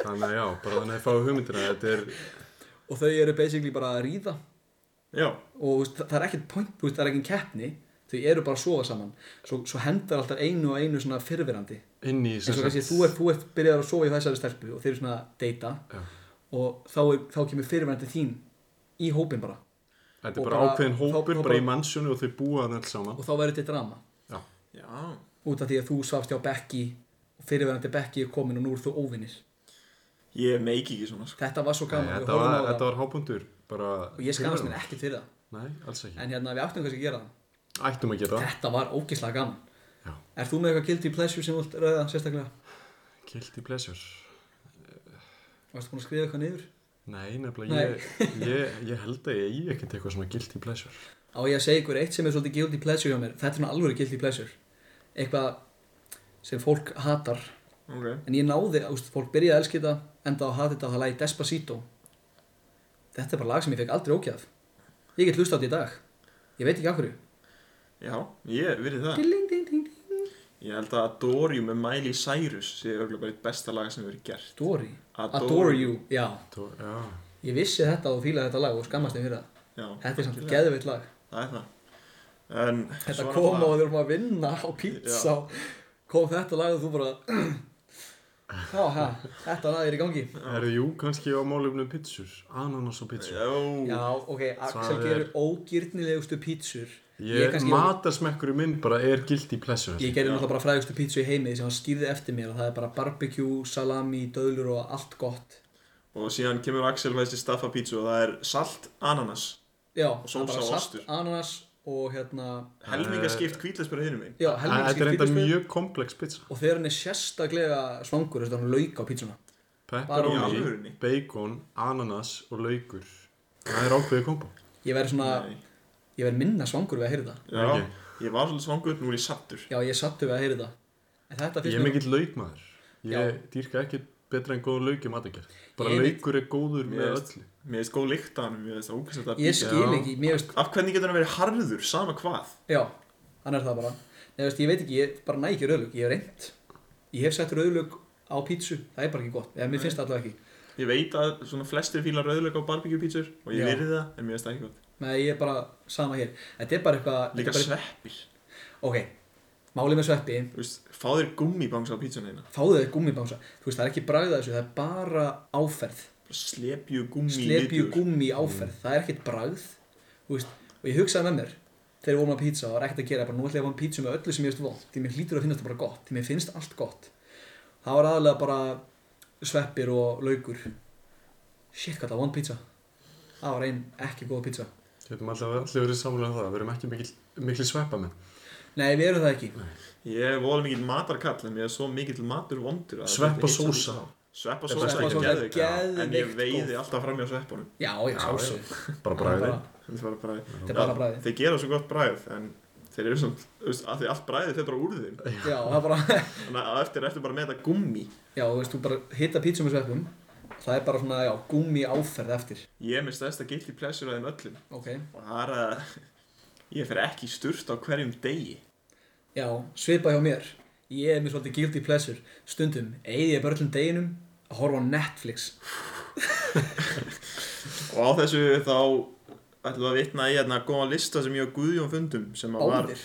S4: Þannig að já, bara þannig að ég fái hugmyndina Þetta er,
S3: og þau eru basically bara að ríða
S2: Já,
S3: og þú veist, það er ekkert point, þú veist, það er ekkert keppni þau eru bara að sofa saman svo, svo hendar alltaf einu og einu svona fyrrverandi
S4: inn í
S3: eins og kannski þú ert, þú ert byrjaður að sofa í þessari stelpu og þeir eru svona að deyta
S4: Já.
S3: og þá, er, þá kemur fyrrverandi þín í hópin bara
S4: Þetta
S3: og
S4: er bara
S3: bara-
S4: ákveðin hópur
S3: þá- þá
S4: bara í
S3: bara-
S4: mannsjónu og þau búa hann alls saman
S3: og þá verður þetta drama
S4: Já,
S2: já
S3: út af því að þú svafst hjá Becky og fyrirverandi Becky er komin og nú eru þú óvinnir
S2: Ég meiki ekki svona sko.
S3: þetta var svo
S4: Nei,
S3: gaman við
S4: þetta,
S3: horfðum
S4: var,
S3: á það.
S4: þetta var hápundur bara
S3: og ég skamast mér ekkert fyrir það
S4: Nei, alls ekki
S3: en hérna við áttum kannski að gera það
S4: Ættum að gera það
S3: þetta var ógeðslega gaman
S4: Já.
S3: Er þú með eitthvað guilty pleasure sem þú vilt ræða sérstaklega?
S4: Guilty pleasure
S3: Varstu búin að skrifa eitthvað niður?
S4: Nei, nefnilega ég, ég, ég held að ég eigi ekkert eitthvað svona guilty pleasure
S3: Á ég að segja ykkur eitt sem er svolítið guilty pleasure hjá mér Þetta er svona alvöru guilty pleasure Eitthvað sem fólk hatar
S2: ok
S3: en ég náði, úst, fólk byrjaði að elska þetta enda á að hata þetta á það lagi Despacito þetta er bara lag sem ég fekk aldrei ókjaf ég get hlusta á þetta í dag ég veit ekki af hverju
S2: Já, ég virði það
S3: Ding, ding, ding, ding.
S2: Ég held að Adore You með Miley Cyrus sé örgulega bara eitt besta lag sem hefur verið gert
S3: Dory,
S2: Adore
S3: Adore You já,
S4: Þú- Já,
S3: ég vissi þetta og fílaði þetta lag og skammast þeim fyrir það
S2: Já,
S3: þetta er samt
S2: virkilega.
S3: geðveitt lag
S2: Það er það en,
S3: þetta
S2: svo er
S3: kom á
S2: náttúrulega-
S3: að við erum að vinna á pizza kom þetta lag og þú bara [CLEARS THROAT] já, ha, þetta lag er í gangi
S4: er jú kannski á málefnum pizzur, ananas og pizzur.
S2: Já,
S3: já, ok, Axel
S4: Það er-
S3: gerir ógirnilegustu pizzur
S4: Ég,
S3: kannski-
S4: matarsmekkurinn minn bara er gilt í plessu.
S3: ég gerði náttúrulega bara frægustu pizzu í heimið sem hann skýrði eftir mér og það er bara barbecue, salami, döðlur og allt gott
S2: Og síðan kemur Axel fæst í staffa pítsu og það er salt ananas
S3: já, það
S2: sósa
S3: er bara
S2: og
S3: salt,
S2: ostur.
S3: ananas og hérna
S2: Helmingaskipt kvítlesbyrða hinum einn
S3: já,
S4: Þetta
S3: helmingiski
S4: er enda
S3: pizzu
S4: mjög komplex pizza.
S3: og þegar hann er sérstaklega svangur, þess að hann lauk á pizzuna
S2: Í
S4: Pepperoni,
S2: alvörunni?
S4: bacon, ananas og laukur. Það er ákveðið kombo.
S3: ég verði svona,
S2: Nei.
S3: ég verði minna svangur við að heyra það
S2: Já,
S4: Ok.
S2: ég var svolítið svangur, nú er ég sattur
S3: Já, ég sattu við að heyra þetta En þetta
S4: Ég
S3: finnst
S4: er
S3: mér
S4: mikill laukmaður. Ég dýrka ekki betra en góða lauk í matagerð. Bara
S3: Ég er
S4: laukur er góður með
S2: Mér
S4: öllu.
S2: finnst góð lykt af hann, mér finnst það ókvæmst að
S3: Ég
S2: pítsa
S3: skil
S4: Já.
S3: ekki, mér veist
S2: Af hvernig getur hann verið harður, sama hvað?
S3: Já, hann er það bara Nei, veist, ég veit ekki, ég bara næ ekki rauðlug Ég hef reynd Ég hef sett rauðlug á pítsu Það er bara ekki gott, eða mér finnst það allavega ekki
S2: Ég veit að svona flestir fílar rauðleika á barbecue pítsur og ég
S3: Já.
S2: virði það, en mér finnst það ekki gott
S3: Nei, ég er bara sama hér Þetta er bara eitthvað
S2: Líka
S3: þetta er
S2: sveppir,
S3: bara, Ok, málið með sveppi
S2: þú veist, fá þér gummibangs á pítsuna eina
S3: Fáðu þau gummibánsa Þú veist, það er ekki bragðað þessu, það er bara áferð
S2: Slepju gummi
S3: slepju gummi Mm. áferð það er ekkert bragð þú veist, og ég hugsaði með mér þegar við vorum að pizza og það var ekkert að gera bara nú ætla ég að fá pizza með öllu sem ég veist vond því mér hlýtur að finnast það bara gott því mér finnst allt gott það var aðalega bara sveppir og laukur shit hvað það vond pizza það var einn ekki góð pizza
S4: Getum alltaf allir verið samlega það. Við erum ekki mikil, mikil sveppa með.
S3: nei við erum það ekki
S2: Ég er voða mikill matarkall en ég er svo mikill matur vondur að
S4: Sveppa
S2: þetta er hitt
S4: sósa.
S2: saman. Sveppa
S4: Sveppa
S2: sósa er
S3: sósa er
S2: geðveik En ég
S3: geðveikt
S2: veiði
S3: góð.
S2: alltaf fram hjá sveppunum
S3: já já sjálfsögðu.
S4: Bara
S3: Það er
S4: bræði.
S3: bara-
S2: Þetta er bara bragðið.
S3: Þetta er bara
S2: Já,
S3: bragðið.
S2: Þeir gera svo gott bræð en þeir eru svona, þú veist, af því allt bræðið þetta er úr þeim
S3: já það er bara [LAUGHS]
S2: Þannig að eftir ertu bara með þetta gummi
S3: já þú veist þú bara hitta pizza með sveppum það er bara svona já gummi áferð eftir
S2: Ég er með stærsta gilt í plessur af þeim öllum
S3: ok
S2: og það er að [LAUGHS] ég fer ekki í sturt á hverjum degi
S3: Já, svipa hjá mér Ég er mér svolítið guilty pleasure Stundum, eigði ég börlum deginum að horfa á Netflix
S2: og á þessu þá ætlum við að vitna í hérna góða lista sem ég og Guðjón fundum sem að var,
S3: Báðir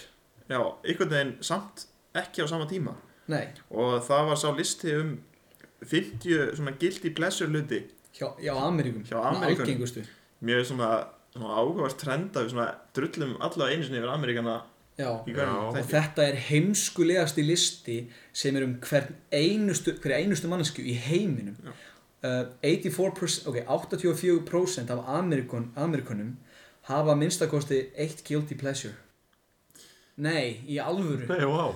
S2: já, einhvern veginn samt ekki á sama tíma
S3: Nei,
S2: og það var sá listi um 50 svona guilty pleasure hluti
S3: hjá, hjá Ameríkum
S2: Hjá Ameríkunum.
S3: Algengustu
S2: mjög svona, svona áhugavert trend að við svona drullum allavega einu sinni yfir Ameríkana
S3: Já,
S2: í
S4: Já.
S2: hverjum
S3: og
S2: þætti
S3: þetta er heimskulegasti listi sem er um hvern einustu, hverja einustu mannesku í heiminum
S2: Já.
S3: uh, 84%, ok, 84% af Ameríkun, Ameríkunum hafa minnstakosti eitt guilty pleasure Nei, í alvöru
S4: Nei, vá.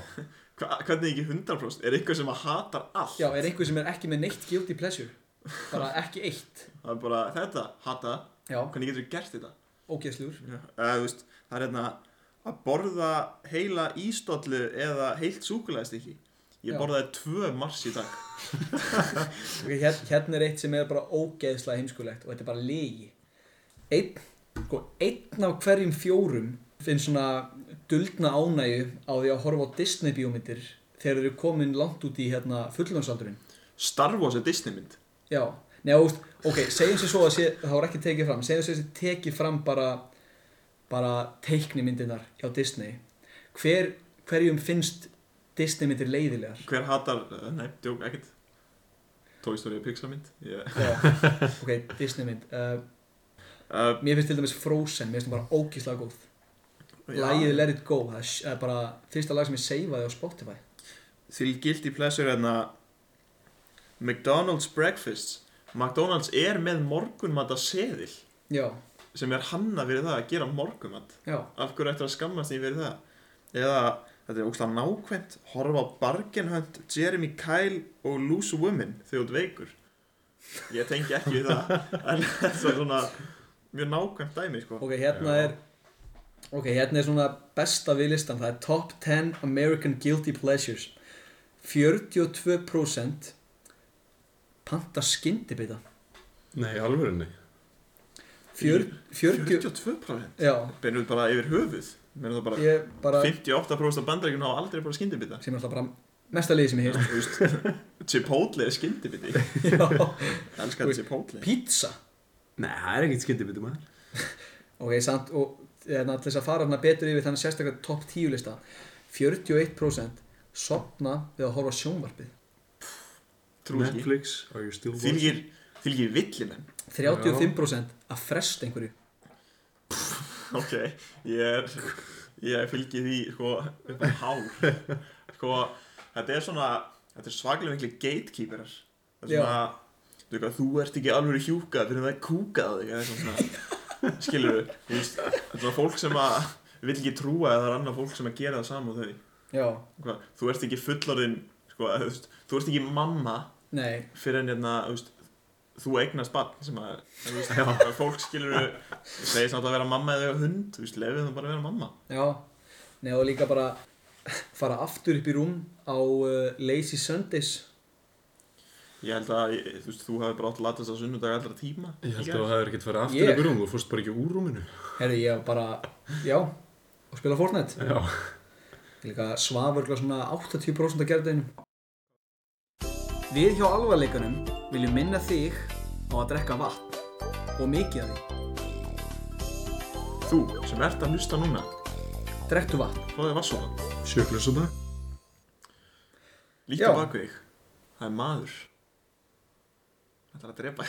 S2: Hva, hvernig ekki 100% er eitthvað sem að hatar allt
S3: Já, er einhver sem er ekki með neitt guilty pleasure bara ekki eitt
S2: það er bara þetta, hata,
S3: Já,
S2: hvernig getur við gert þetta
S3: ógeðslugur
S2: eða þú veist, það er hérna að borða heila ístollu eða heilt súkulæðist ekki ég
S3: Já.
S2: borðaði tvö mars í dag
S3: okay, hér, hérna er eitt sem er bara ógeðslega heimskulegt og þetta er bara legi einn, sko, einn af hverjum fjórum finnst svona duldna ánægju á því að horfa á Disney bíómyndir þegar þeir eru komin langt út í hérna fullunnsaldurinn
S2: Star Wars er Disney mynd
S3: já, neða, úst, ok, segjum sér svo að sé, það voru ekki tekið fram, segjum sér að sé tekið fram bara, bara teiknimyndinar hjá Disney hver, hverjum finnst Disney myndir leiðilegar
S2: hver hatar, eh, nei, djók, ekkert Toy Story er Pixar mynd yeah.
S3: Já, ok, Disney mynd uh,
S2: uh,
S3: Mér finnst til dæmis Frozen, mér finnst hún bara ókíslega góð
S2: já.
S3: Lægið Let It Go, það er sh- það er bara fyrsta lag sem ég seifaði á Spotify
S2: til guilty pleasure hérna McDonald's breakfasts McDonald's er með morgunmata seðil
S3: Já,
S2: sem er hanna fyrir það að gera morgunmat
S3: já,
S2: af hverju ættir að skammast því fyrir það eða þetta er ógslag nákvæmt horfa á Bargain Hunt, Jeremy Kyle og Loose Women þegar þú ert veikur ég tengi ekki við það en [LAUGHS] þetta er svona mjög nákvæmt dæmi sko
S3: ok, hérna
S4: Já.
S3: er Ok, hérna er svona besta við listan, það er Top 10 American Guilty Pleasures 42% panta skyndibita
S4: Nei, alvörinni.
S3: Fjör- 40,
S2: 42%
S3: já,
S2: Beinur bara yfir höfuð Menur það bara
S3: ég bara
S2: 58% af bandaríkjunum hafa aldrei bara skyndibita
S3: sem er alltaf bara mesta liði sem ég
S2: Þú veist, [LAUGHS] Chipotle er skyndibiti
S3: heist já. Þú
S2: Elskar
S3: veist,
S2: Chipotle
S3: [LAUGHS] pizza
S5: Nei, það er ekkert skyndibiti maður.
S3: ok, samt og eðna, til þess að fara hana betur yfir þannig sérstaklega topp 10 lista 41% sopna við að horfa á sjónvarpið
S2: Trú ekki
S4: Netflix, are you still watching?
S2: Þylgir Þylgir villimenn
S3: 35% að fresta einhverju
S2: Ok, ég er ég fylgi því sko upp á hár sko, þetta er svona þetta er svaklega miklu gatekeeperar það er
S3: Já.
S2: svona þú, veist, þú ert ekki alveg hjúkað fyrir það er kúkað á þig eða eitthvað svona skilur við, þú veist, þetta er svona fólk sem að vil ekki trúa að það er annað fólk sem að gera það saman og þau
S3: já,
S2: Hvað, þú ert ekki fullorðin sko, eða, þú, veist, þú ert ekki mamma
S3: nei,
S2: fyrir en hérna, þú veist þú eignast barn sem að þú veist, að fólk skilur segist náttúrulega að vera mamma eða eiga hund, þú veist, lefið það bara að vera mamma
S3: já nei og líka bara fara aftur upp í rúm á uh, Lazy Sundays
S2: ég held að, ég- þú veist, þú hafi bara átt latast á sunnudag allra tíma
S4: Ég held að
S2: í gær.
S4: það hefur ekkert farið aftur
S3: Ég-
S4: yeah. upp í rúm, þú fórst bara ekki úr rúminu.
S3: herru, ég var bara, já og spila Fortnite
S4: Já.
S3: Líka svafurgla svona 80% að gera þetta Við hjá alvarleikanum viljum minna þig á að drekka vatn og mikið af því.
S2: þú, sem ert að hlusta núna
S3: Drekktu vatn.
S2: fóðið var svona,
S4: Sjöklus og það.
S2: líka
S3: Já.
S2: bak við þig það er maður þetta er að drepa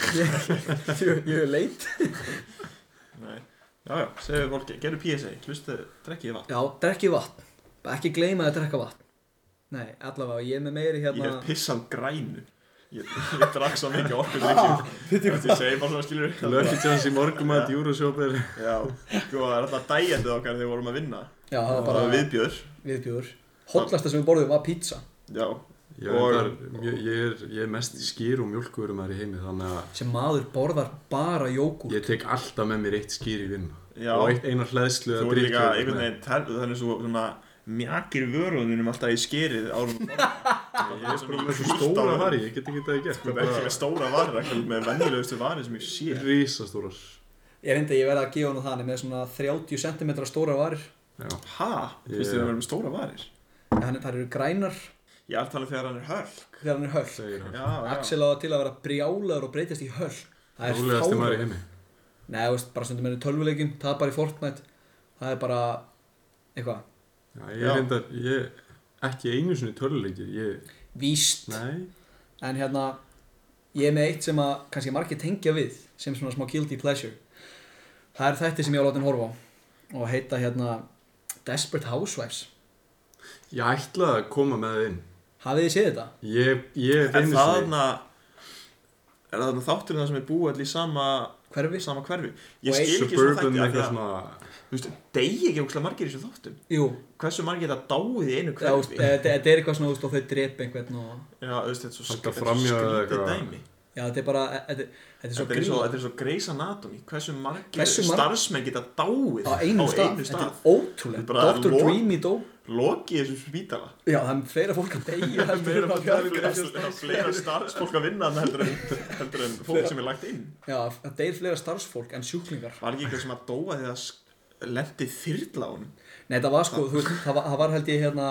S3: [LAUGHS] ég er leit.
S2: Nei. já, já, segðu fólki, gerðu PSA hlustu, drekkið vatn
S3: Já, drekki vatn. Bara Ekki gleyma að drekka vatn. Nei, allavega, ég er með meiri
S2: ég
S3: hérna...
S2: hef pissað grænu ég, ég drakk svo mikið orku
S3: Ah.
S2: drikkið þetta ég segi bara svona skilur
S4: Lucky chance í morgumat, Euroshop er...
S2: já, sko, það er alltaf dæjandi okkar þegar við vorum að vinna
S3: Já, það var
S2: það
S3: bara
S2: var viðbjör
S3: viðbjóður. Hollasta sem við borðum var pizza.
S2: já,
S4: Já,
S2: Og-
S4: og, ég, ég, er, ég er mest í skýr og mjölkurum í heimi, þannig að
S3: Sem maður borðar bara jógúrt.
S4: ég tek alltaf með mér eitt skýr í vinn.
S2: já
S4: Og eitt einar hlæðslu
S2: þú
S4: að
S2: er líka
S4: drikka.
S2: einhvern veginn tel- þannig svo svona mjakir vörunum alltaf í skerið
S4: [LAUGHS]
S2: árum ég er
S4: Bara með svo stóra vari, ég get ekki þetta ekki
S2: Sko, það er ekki
S4: gert.
S2: með stóra varir ekki með venjulegustu varir sem ég sé
S4: Bara rísastórar.
S3: Ég reyndi að ég verði að gefa hann þannig með svona 30 cm stóra varir.
S4: Já.
S2: ha,
S4: Ég-
S2: finnst þér að vera með stóra varir
S3: Þannig að það eru grænar
S2: ég er talað þegar hann er hörl
S3: þegar hann er höll.
S4: Segir hann.
S2: já, já,
S3: Axel á til að vera brjálaður og breytast í höll Það er
S4: Rólegasti maður í
S3: fáránlegt.
S4: heimi.
S3: Nei, þú veist, bara stundum er í tölvuleikin Það er bara í Fortnite Það er bara eitthvað
S4: Já, ég
S2: Já.
S4: er reyndar, ég, ekki einu sinni töluleikir, ég,
S3: Víst
S4: nei,
S3: En hérna Ég er með eitt sem að kannski margir tengja við sem svona smá guilty pleasure Það er þetta sem ég á látin horfa á og heita hérna Desperate Housewives
S4: ég ætlaði að koma með það inn.
S3: Hafið þið séð þetta?
S4: Ég, ég,
S2: er
S4: einu
S2: það
S4: sinni,
S2: þarna er það þarna þáttur það sem er búið allir í sama
S3: Hverfi?
S2: sama hverfi ég
S3: Og
S2: skil ekki svona
S4: suburban
S2: þætti af því
S4: eitthvað
S2: að
S4: svona,
S2: þú veist, degi ekki ógslag margir í þessu þáttum
S3: Jú,
S2: hversu margir það dáið í
S3: Já,
S2: einu
S3: þú veist,
S2: hverfi
S3: þetta þetta er eitthvað svona þú veist, og þau drepa einhvern og
S2: já, þú veist, þetta er svo
S4: Halda
S2: sk- þetta er
S4: framhjá
S2: svo
S4: eða
S2: skrítið
S4: eitthvað.
S2: dæmi
S3: Já, þetta er bara e- Þetta, þetta er svo
S2: Þetta er, svo,
S3: grillað.
S2: þetta er svo Grey's Anatomy Hversu margir
S3: Hversu marg-
S2: starfsmenn geta dáið
S3: á einum stað, þetta er ótrúlega
S2: Þetta er bara
S3: Dr.
S2: lok-
S3: Dreamy dó
S2: Lokið þessu spítala
S3: já, það er fleira fólk að deyja
S2: Það er
S3: heldur en
S2: meira
S3: að
S2: það er
S3: bjargast.
S2: fleira- fleira starfsfólk að vinna þarna heldur en, heldur en fólk sem er lagt inn
S3: já, það deyr fleira starfsfólk en sjúklingar
S2: Var ekki eitthvað sem að dóa þegar það lendi þyrla á honum
S3: nei, það var sko, þú veist, það var, það var held ég hérna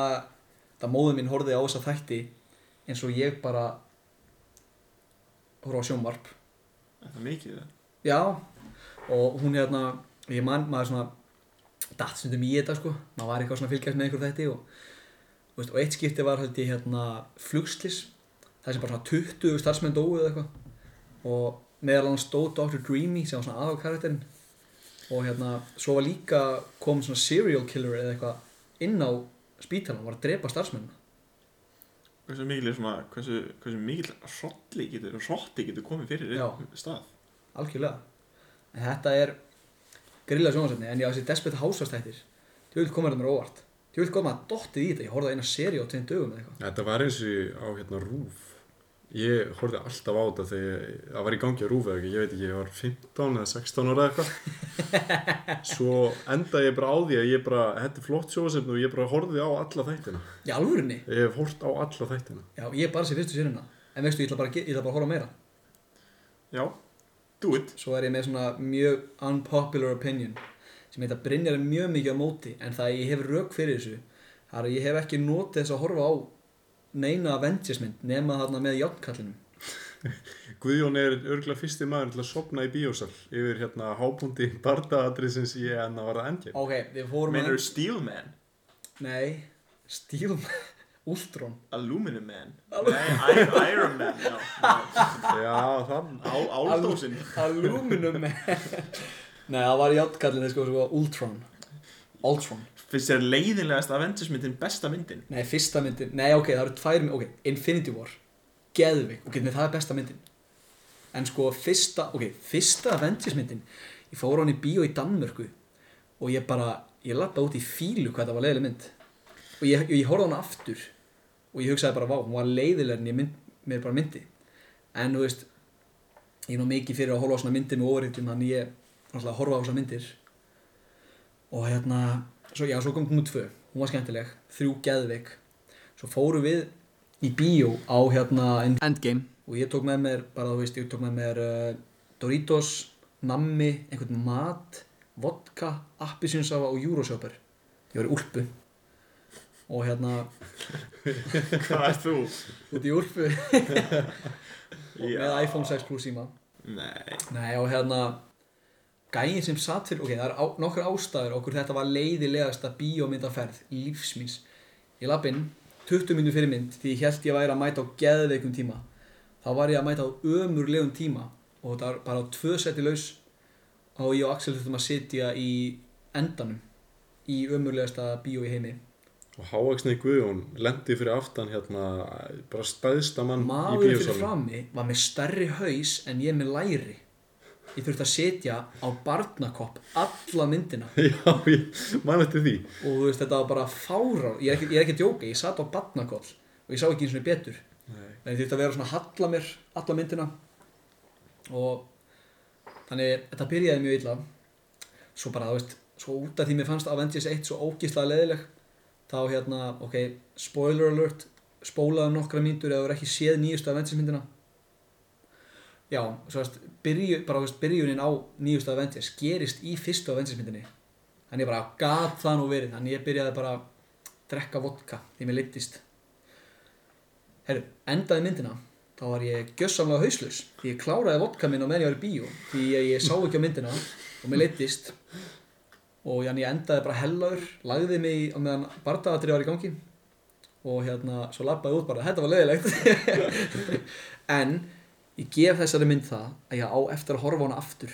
S3: það móður mín horfið á þessa þætti eins og ég bara horfa á sjónvarp
S2: Er Það er mikið það
S3: já, og hún hérna ég man, maður svona datt stundum í þetta sko, maður var eitthvað svona að fylgjast með einhver þætti og, þú veist, og eitt skipti var held ég hérna flugslis það sem bara svona 20 starfsmenn dóu eða eitthvað og meðal annars dó Dr. Dreamy sem var svona aðalkarakterinn og hérna svo var líka kom svona serial killer eða eitthvað inn á spítalan og var að drepa starfsmennina
S2: Hversu mikil er svona Hversu, hversu mikil hrottli getur Hrotti getur komið fyrir
S3: Já.
S2: einn stað
S3: algjörlega en þetta er grilla sjónasefni en já þessi Desperate Housewives-tættir tjóðvill komar þetta mér á óvart tjóðvill komar að dottið í þetta ég horfði að eina seri á tveim dögum eða eitthvað
S4: þetta var eins og á hérna rúf, Ég horfði alltaf á þetta þegar ég- það var í gangi að rúfa ekki, ég veit ekki, ég var 15 eða 16
S3: [LAUGHS]
S4: ára eða eitthvað. Svo endaði ég bara á því að ég bara, þetta er flott sjóðsefn og ég bara horfði á alla þættina.
S3: Í alvörinni?
S4: Ég hef hort á alla þættina.
S3: Já, ég er bara sér fyrstu sérina. En veistu, ég ætla bara, að ge- ég ætla bara að horfa á meira.
S2: Já, do it
S3: Svo er ég með svona mjög unpopular opinion sem heit að Brynjar er mjög mikið á móti en það ég hef rauk fyrir þessu það er að ég hef ekki notið þess að horfa á neina Avengersmynd nema þarna með játnkallinum.
S4: Guðjón er örgulega fyrsti maður til að sopna í bíósal yfir hérna hábúndi bardaadrissins í enn að vara endgame.
S3: Ok, við fórum
S2: Menur Steelman,
S3: Nei, Stílum, [LAUGHS] Ultron.
S2: Aluminum Man Nei, Iron, Iron Man [LAUGHS] já, já.
S4: Já, það,
S2: Á, Áldósin
S3: Aluminum Man. [LAUGHS] Nei, það var játnkallinu sko, sko, Ultron. Ultron.
S2: Fyrst þér leiðinlegast Avengers myndin besta myndin
S3: Nei, fyrsta myndin, nei ok, það eru tvær myndin, ok, Infinity War, Geðvik, ok, nei, það er besta myndin. En sko, fyrsta, ok, fyrsta Avengers myndin, ég fór á hann í bíó í Danmörku og ég bara, ég lappa út í fílu hvað það var leiðileg mynd. Og ég, ég horfði á hann aftur og ég hugsaði bara, vá, hún var leiðileg en ég mynd, mér bara myndi. En, þú veist, ég er nú mikið fyrir að horfa á svona myndir með óriðtum, þannig ég, náttúrulega, horfa á svona myndir og hérna, svo, já, svo kom hún tvö hún var skemmtileg, þrjú geðveik svo fórum við í bíó á hérna Endgame og ég tók með mér, bara þú veist, ég tók með mér uh, Doritos, nammi einhvern mat, vodka appisinsafa og júrósjópar ég var í úlpu og hérna,
S2: [LAUGHS] Hvað ert þú?
S3: út í úlpu [LAUGHS] og með
S2: Já.
S3: iPhone 6 Plus síma
S2: Nei
S3: Nei og hérna Gæin sem satt fyrir, ok, það er á, nokkur ástæður okkur þetta var leiðilegasta bíómyndaferð lífsmins Ég lapp inn, 20 minnum fyrir mynd því ég held ég væri að mæta á geðveikum tíma þá var ég að mæta á ömurlegum tíma og það var bara á tvö seti laus og ég og Axel þurftum að sitja í endanum í ömurlegasta bíó í heimi
S4: og háaksni Guðjón lendi fyrir aftan hérna, bara stæðsta mann í
S3: Maður fyrir
S4: bíósalum.
S3: frammi var með stærri haus en ég með læri Ég þurfti að sitja á barnakopp alla myndina
S4: [LAUGHS] Já, ég man eftir því.
S3: og þú veist þetta var bara fárán ég er ekki, ég er ekki að djóka, ég satt á batnakoll og ég sá ekki eins og betur
S4: Nei.
S3: en ég þurfti að vera svona að halla mér alla myndina og þannig þetta byrjaði mjög illa svo bara þú veist svo út af því mér fannst Avengers 1 svo ógislega leðileg þá hérna, ok, spoiler alert spólaðu nokkra mínútur eða þú er ekki séð nýjustu Avengers myndina já, svo veist, byrju, bara þú veist byrjunin á nýjustu Avengers gerist í fyrstu Avengers myndinni þannig ég bara gat það nú verið þannig ég byrjaði bara að drekka vodka því mér leittist herru, endaði myndina þá var ég gjössamlega hauslaus því ég kláraði vodka minn á meðan ég var í bíó því ég, ég sá ekki á myndina og mér leittist og þannig ég endaði bara hellaur lagði mig í- á meðan bardaðatri var í gangi og hérna, svo labbaði ég út bara þetta var leiðilegt [LAUGHS] en ég gef þessari mynd það að ég á eftir að horfa á hana aftur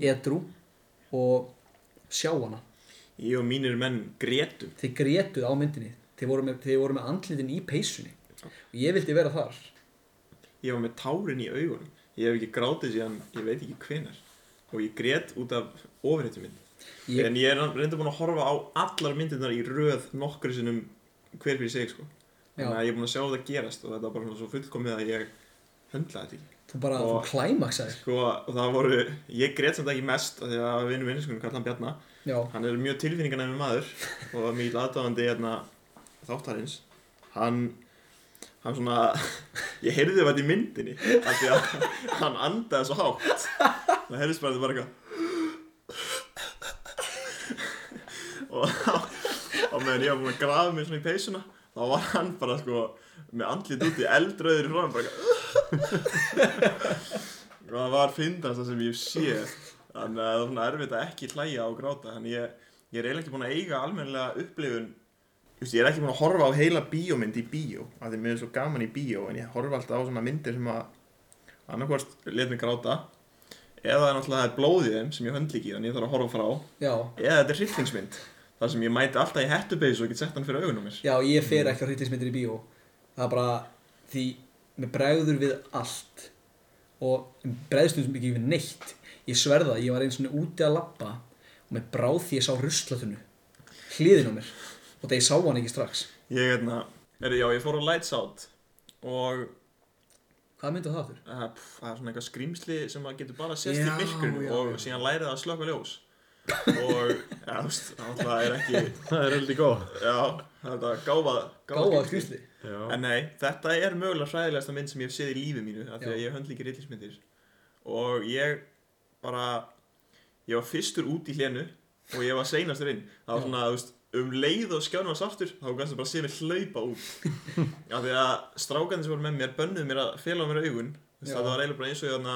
S3: edru og sjá hana
S2: Ég og mínir menn grétum
S3: þeir grétuð á myndinni þeir voru með, þeir voru með andlitin í peysunni og ég vildi vera þar
S2: Ég var með tárin í augunum Ég hef ekki grátið síðan, ég veit ekki hvenar Og ég grét út af ofréttu mynd
S3: ég,
S2: En ég er reynda búin að horfa á allar myndirnar í röð nokkru sinnum hver fyrir sig sko Þannig að ég er búin að sjá þetta gerast og þetta var bara svona svo fullkomið að ég höndlaði þetta ekki
S3: þú bara,
S2: og-
S3: þú klæmaksaðir
S2: Sko, og það voru, ég grét samt ekki mest af því að vinnu minn, sko, kallan Bjarna
S3: já,
S2: hann er mjög tilfinningarnæmi maður og mikið aðdáðandi hérna þáttarins hann, hann svona [LAUGHS] ég heyrði það í myndinni af því að [LAUGHS] hann andaði svo hátt það heyrðist bara þetta var eitthvað [LAUGHS] og á meðan ég var búin að grafa mig svona í peysuna þá var hann bara sko með andlit úti eldrauður í hrónum bara eitthvað og það var fyndast það sem ég sé þannig að það var svona erfitt að ekki hlæja og gráta þannig ég, ég er eiginlega ekki búin að eiga almennilega upplifun Just, ég er ekki búin að horfa á heila bíómynd í bíó af því mér er svo gaman í bíó en ég horfa alltaf á svona myndir sem að annarkvort let mig gráta eða er náttúrulega það er blóðið þeim sem ég höndli ekki þannig ég þarf að horfa frá
S3: já,
S2: eða þetta er hryllingsmynd þar sem ég mæti alltaf í hettubeis og get sett hann fyrir augunum mér
S3: já, ég fer ekki á hryllingsmyndir í bíó það er bara, því mér bregður við allt og mér bregðstum sem ekki við neitt ég sverða, ég var eins og úti að labba og mér bráð því ég sá ruslatunnu hliðin á mér og það ég sá hann ekki strax
S2: ég, hérna, er, já, ég fór á Lights Out og
S3: Hvað myndu það þurr?
S2: Uh, pff, það er svona eitthvað skrýmsli sem maður getur bara sérst í
S5: Já,
S2: myrkurinu
S5: já,
S2: og
S5: já.
S2: síðan lærið að slökka ljós og ja, þú veist, það er ekki
S4: Það er heldur góð.
S2: já, það er gáfað
S3: Gáða skrýsli
S4: Já.
S2: en nei, þetta er mögulega fræðilegasta mynd sem ég hef séð í lífi mínu af því
S3: Já.
S2: að ég höndl ekki rillismyndir og ég bara ég var fyrstur út í hlénu og ég var seinastur inn það var
S3: Já.
S2: svona, þú veist, um leið og skjánum var svartur þá kannski bara sé mér hlaupa
S3: [LAUGHS]
S2: út af því að strákarnir sem voru með mér bönnuðu mér að fela á mér augun Þú veist,
S3: Já.
S2: það var eiginlega bara eins og ég þarna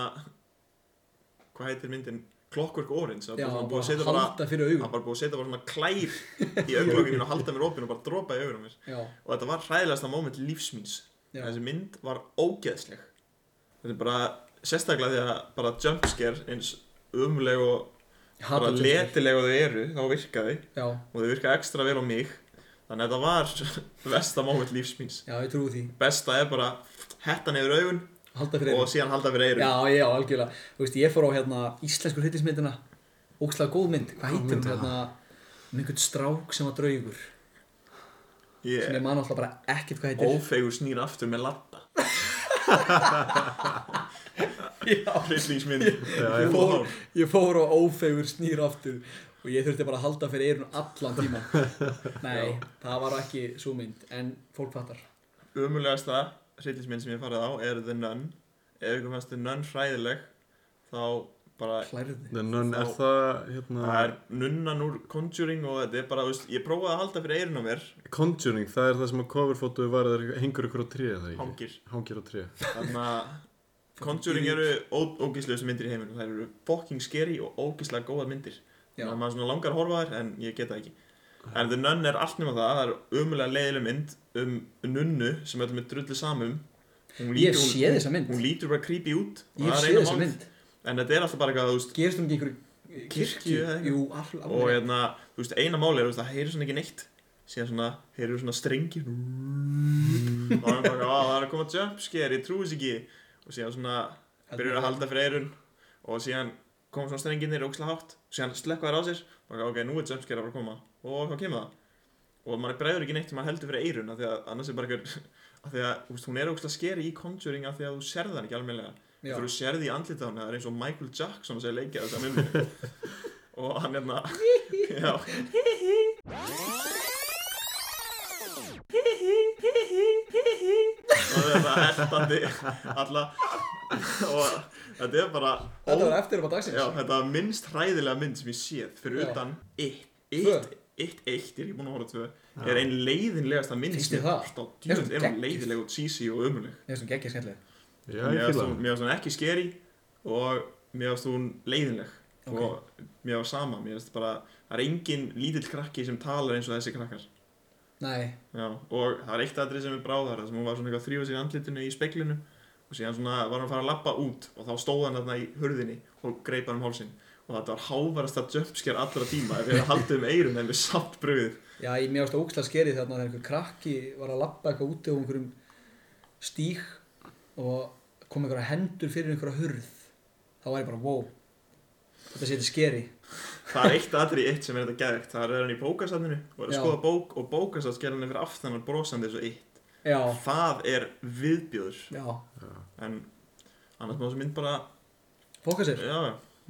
S2: hvað heitir myndin Clockwork Orange það var
S3: Já,
S2: bara svona búið
S3: bara
S2: að setja bara
S3: halda fyrir
S2: það var
S3: augun
S2: bara búið að setja bara svona klær
S3: [LAUGHS]
S2: í augnlokkinu og halda mér opinn og bara dropa í augunum mér
S3: Já,
S2: og þetta var hræðilegasta moment lífsmýns
S3: já,
S2: þessi mynd var ógeðsleg þetta er bara sérstaklega því að bara jumpscare eins umleg og bara
S3: Hata James Bond.
S2: letileg og þau eru þá virkaði
S3: Já,
S2: og þau virkaði ekstra vel á mig þannig að þetta var [LAUGHS] besta moment lífsmýns
S3: já, ég trúi því
S2: besta er bara hettan yfir augun
S3: Halda fyrir
S2: og síðan halda fyrir
S3: Já,
S2: eyrun
S3: já, algjörlega Þú veist, ég fór á hérna íslensku hryllismyndina Ókslega góð mynd, hvað heitir hún
S4: mynd er
S3: hérna um einhvern strák sem var draugur sem
S2: ég
S3: ég man alltaf bara ekkert hvað heitir
S2: ófegur snýr aftur með latta
S3: [LAUGHS] Já, [LAUGHS]
S2: hryllingsmynd
S4: Já,
S3: ég
S2: Full
S3: fór,
S2: on.
S3: ég fór á ófegur snýr aftur og ég þurfti bara að halda fyrir eyrun allan tíma
S2: [LAUGHS]
S3: Nei, það var ekki svo mynd en fólk fattar
S2: Ömulegasta hryllismynd sem ég hef farið á er The Nun Ef ykkur fannst The Nun hræðileg þá bara
S3: Hlærði
S4: En nönn er
S2: Þá-
S4: það, hérna,
S2: það er nunnan úr Conjuring og þetta er bara, þú veist, ég prófaði að halda fyrir eyrun á mér
S4: Conjuring, það er það sem að coverfótu var að það hengur ykkur á tréð, það
S3: [LAUGHS]
S4: ekki?
S2: hangir
S4: Hangir á tréð.
S2: Þannig að Conjuring eru ógíslegustu myndir í heiminum Það eru fucking scary og ógíslega góða myndir
S3: Já.
S2: Þannig að maður svona langar að horfa þær en ég geta ekki En The Nun er allt nema það Það er umulega leiðileg mynd um nunnu sem öllum er drullu samum Hún
S3: Ég
S2: lítur-
S3: hef
S2: hún-
S3: séð þessa mynd
S2: Hún lítur bara creepy út og
S3: Ég hef
S2: það er
S3: séð
S2: eina
S3: þessa
S2: mál-
S3: mynd
S2: En þetta er alltaf bara eitthvað, þú veist
S3: Gerist hún ekki í einhverju
S2: Kirkju
S3: kirkju?
S2: eða eitthvað?
S3: Jú, alveg
S2: Og hérna, þú veist, eina máli er, þú veist, það heyrir svona ekki neitt Síðan svona, heyrir svona strengi Og hann bara, "Á, það er að koma jumpscare, ég trúi þess ekki Og síðan svona, byrjar að halda fyrir eyrun og síðan kom svona strenginir ógislega hátt síðan slekka þær á sér og ok, nú er jumpscare að fara að koma og þá kemur það og maður bregður ekki neitt sem maður heldur fyrir eyrun af því að annars er bara einhver [LAUGHS] af því að úst, hún er ógislega skeri í Conjuring af því að þú serð hann ekki almennilega
S3: Já.
S2: þegar þú serði í andlita hann það er eins og Michael Jackson sem leikja þetta
S3: [LAUGHS]
S2: mummi og hann er [LAUGHS] já og þetta heldandi alla [LAUGHS] og þetta er bara
S3: Þetta var eftir um að dagsins
S2: Já, þetta var minnst hræðilega mynd sem ég séð fyrir
S3: Já.
S2: utan It,
S3: Tvö.
S2: It, It, Eitt, ég er ekki búin að horfa á tvö er ein leiðinlegasta mynd
S3: Finnst þér
S2: sem ég
S3: það?
S2: hef hort á.
S3: Mér finnst
S2: Djöfull
S3: hún
S2: er hún
S3: geggjuð.
S2: leiðileg og cheesy og ömuleg
S3: Ég veist um geggja skemmtilega
S4: Já,
S2: Mér
S4: ég
S2: finnst
S4: fíla
S2: hún-
S4: það.
S2: mér finnst hún ekki skeri og mér finnst hún leiðinleg
S3: Ok.
S2: og mér finnst sama, mér finnst bara það er engin lítill krakki sem talar eins og þessi krakkar
S3: Nei,
S2: Já, og það er eitt aðrið sem er bráðar þar sem hún var svona eitthvað að þrýfa sér í andlitinu í speklinu og síðan svona var hann að fara að lappa út og þá stóð hann þarna í hurðinni og greip hann um hálsin og þetta var hávarasta jumpscare allra tíma ef við hefði haldið um eyrun en við samt brugðið
S3: já, ég mér ást ógslag skerið þarna þegar einhver krakki var að lappa eitthvað úti á einhverjum stíg og kom einhverja hendur fyrir einhverja hurð þá var ég bara, wow þetta sé þetta skeri
S2: það er eitt aðrið eitt sem er þetta geðvegt það er hann í bókasafninu og er að
S3: Já.
S2: skoða bók og bókasafn sker hann yfir aftan og brosandi eins og eitt
S3: Já,
S2: það er viðbjóður
S3: já,
S2: en annars má þessi mynd bara
S3: fokka sér
S2: já,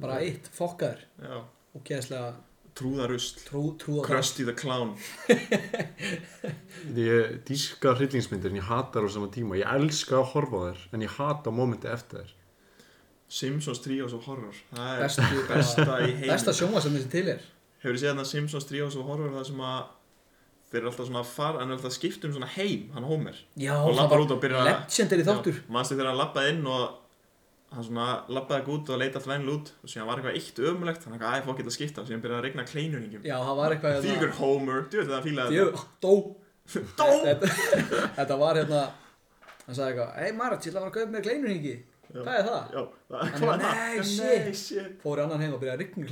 S3: bara eitt, fokkaður
S2: já,
S3: og keðslega
S2: trúðarusl
S3: trú, trúða
S2: Krusty the Clown
S4: Ég díska hryllingsmyndir en ég hata þær á sama tíma. Ég elska að horfa á þær en ég hata mómenti eftir þær.
S2: Simpsons 3 og horror það er
S3: bestu, besta,
S2: besta í heiminum
S3: besta sjónvarsefni sem til er
S2: Hefur þið séð þarna Simpsons 3 og svo horfur það sem að þeir eru alltaf svona að fara, hann er alltaf að skipta um svona heim, hann Homer.
S3: Já,
S2: Og
S3: það
S2: labbar út og byrjar að-
S3: legendary þáttur
S2: Manstu þegar hann lappaði inn og hann svona lappaði ekki út og leita allt vennilega út og síðan var eitthvað eitt ömulegt, hann eitthvað, æ, fokk, geta að skipta og síðan byrjaði að regna kleinuningum.
S3: Já, það var eitthvað hérna-
S2: Þýgur Homer, þú veit það að fílaði
S3: Djöfull, dó
S2: [LAUGHS] Dó!
S3: þetta, þetta var hérna hann sagði eitthvað, hei Marat, ég ætla að fara að kaupa mér kleinurhingi hvað er það?
S2: Já, [LAUGHS] það
S3: Hann
S2: hvað
S3: er,
S2: er það?
S3: "Nei,
S2: Nei,
S3: shit."
S2: shit.
S3: fór í annan heim og byrjaði að rigna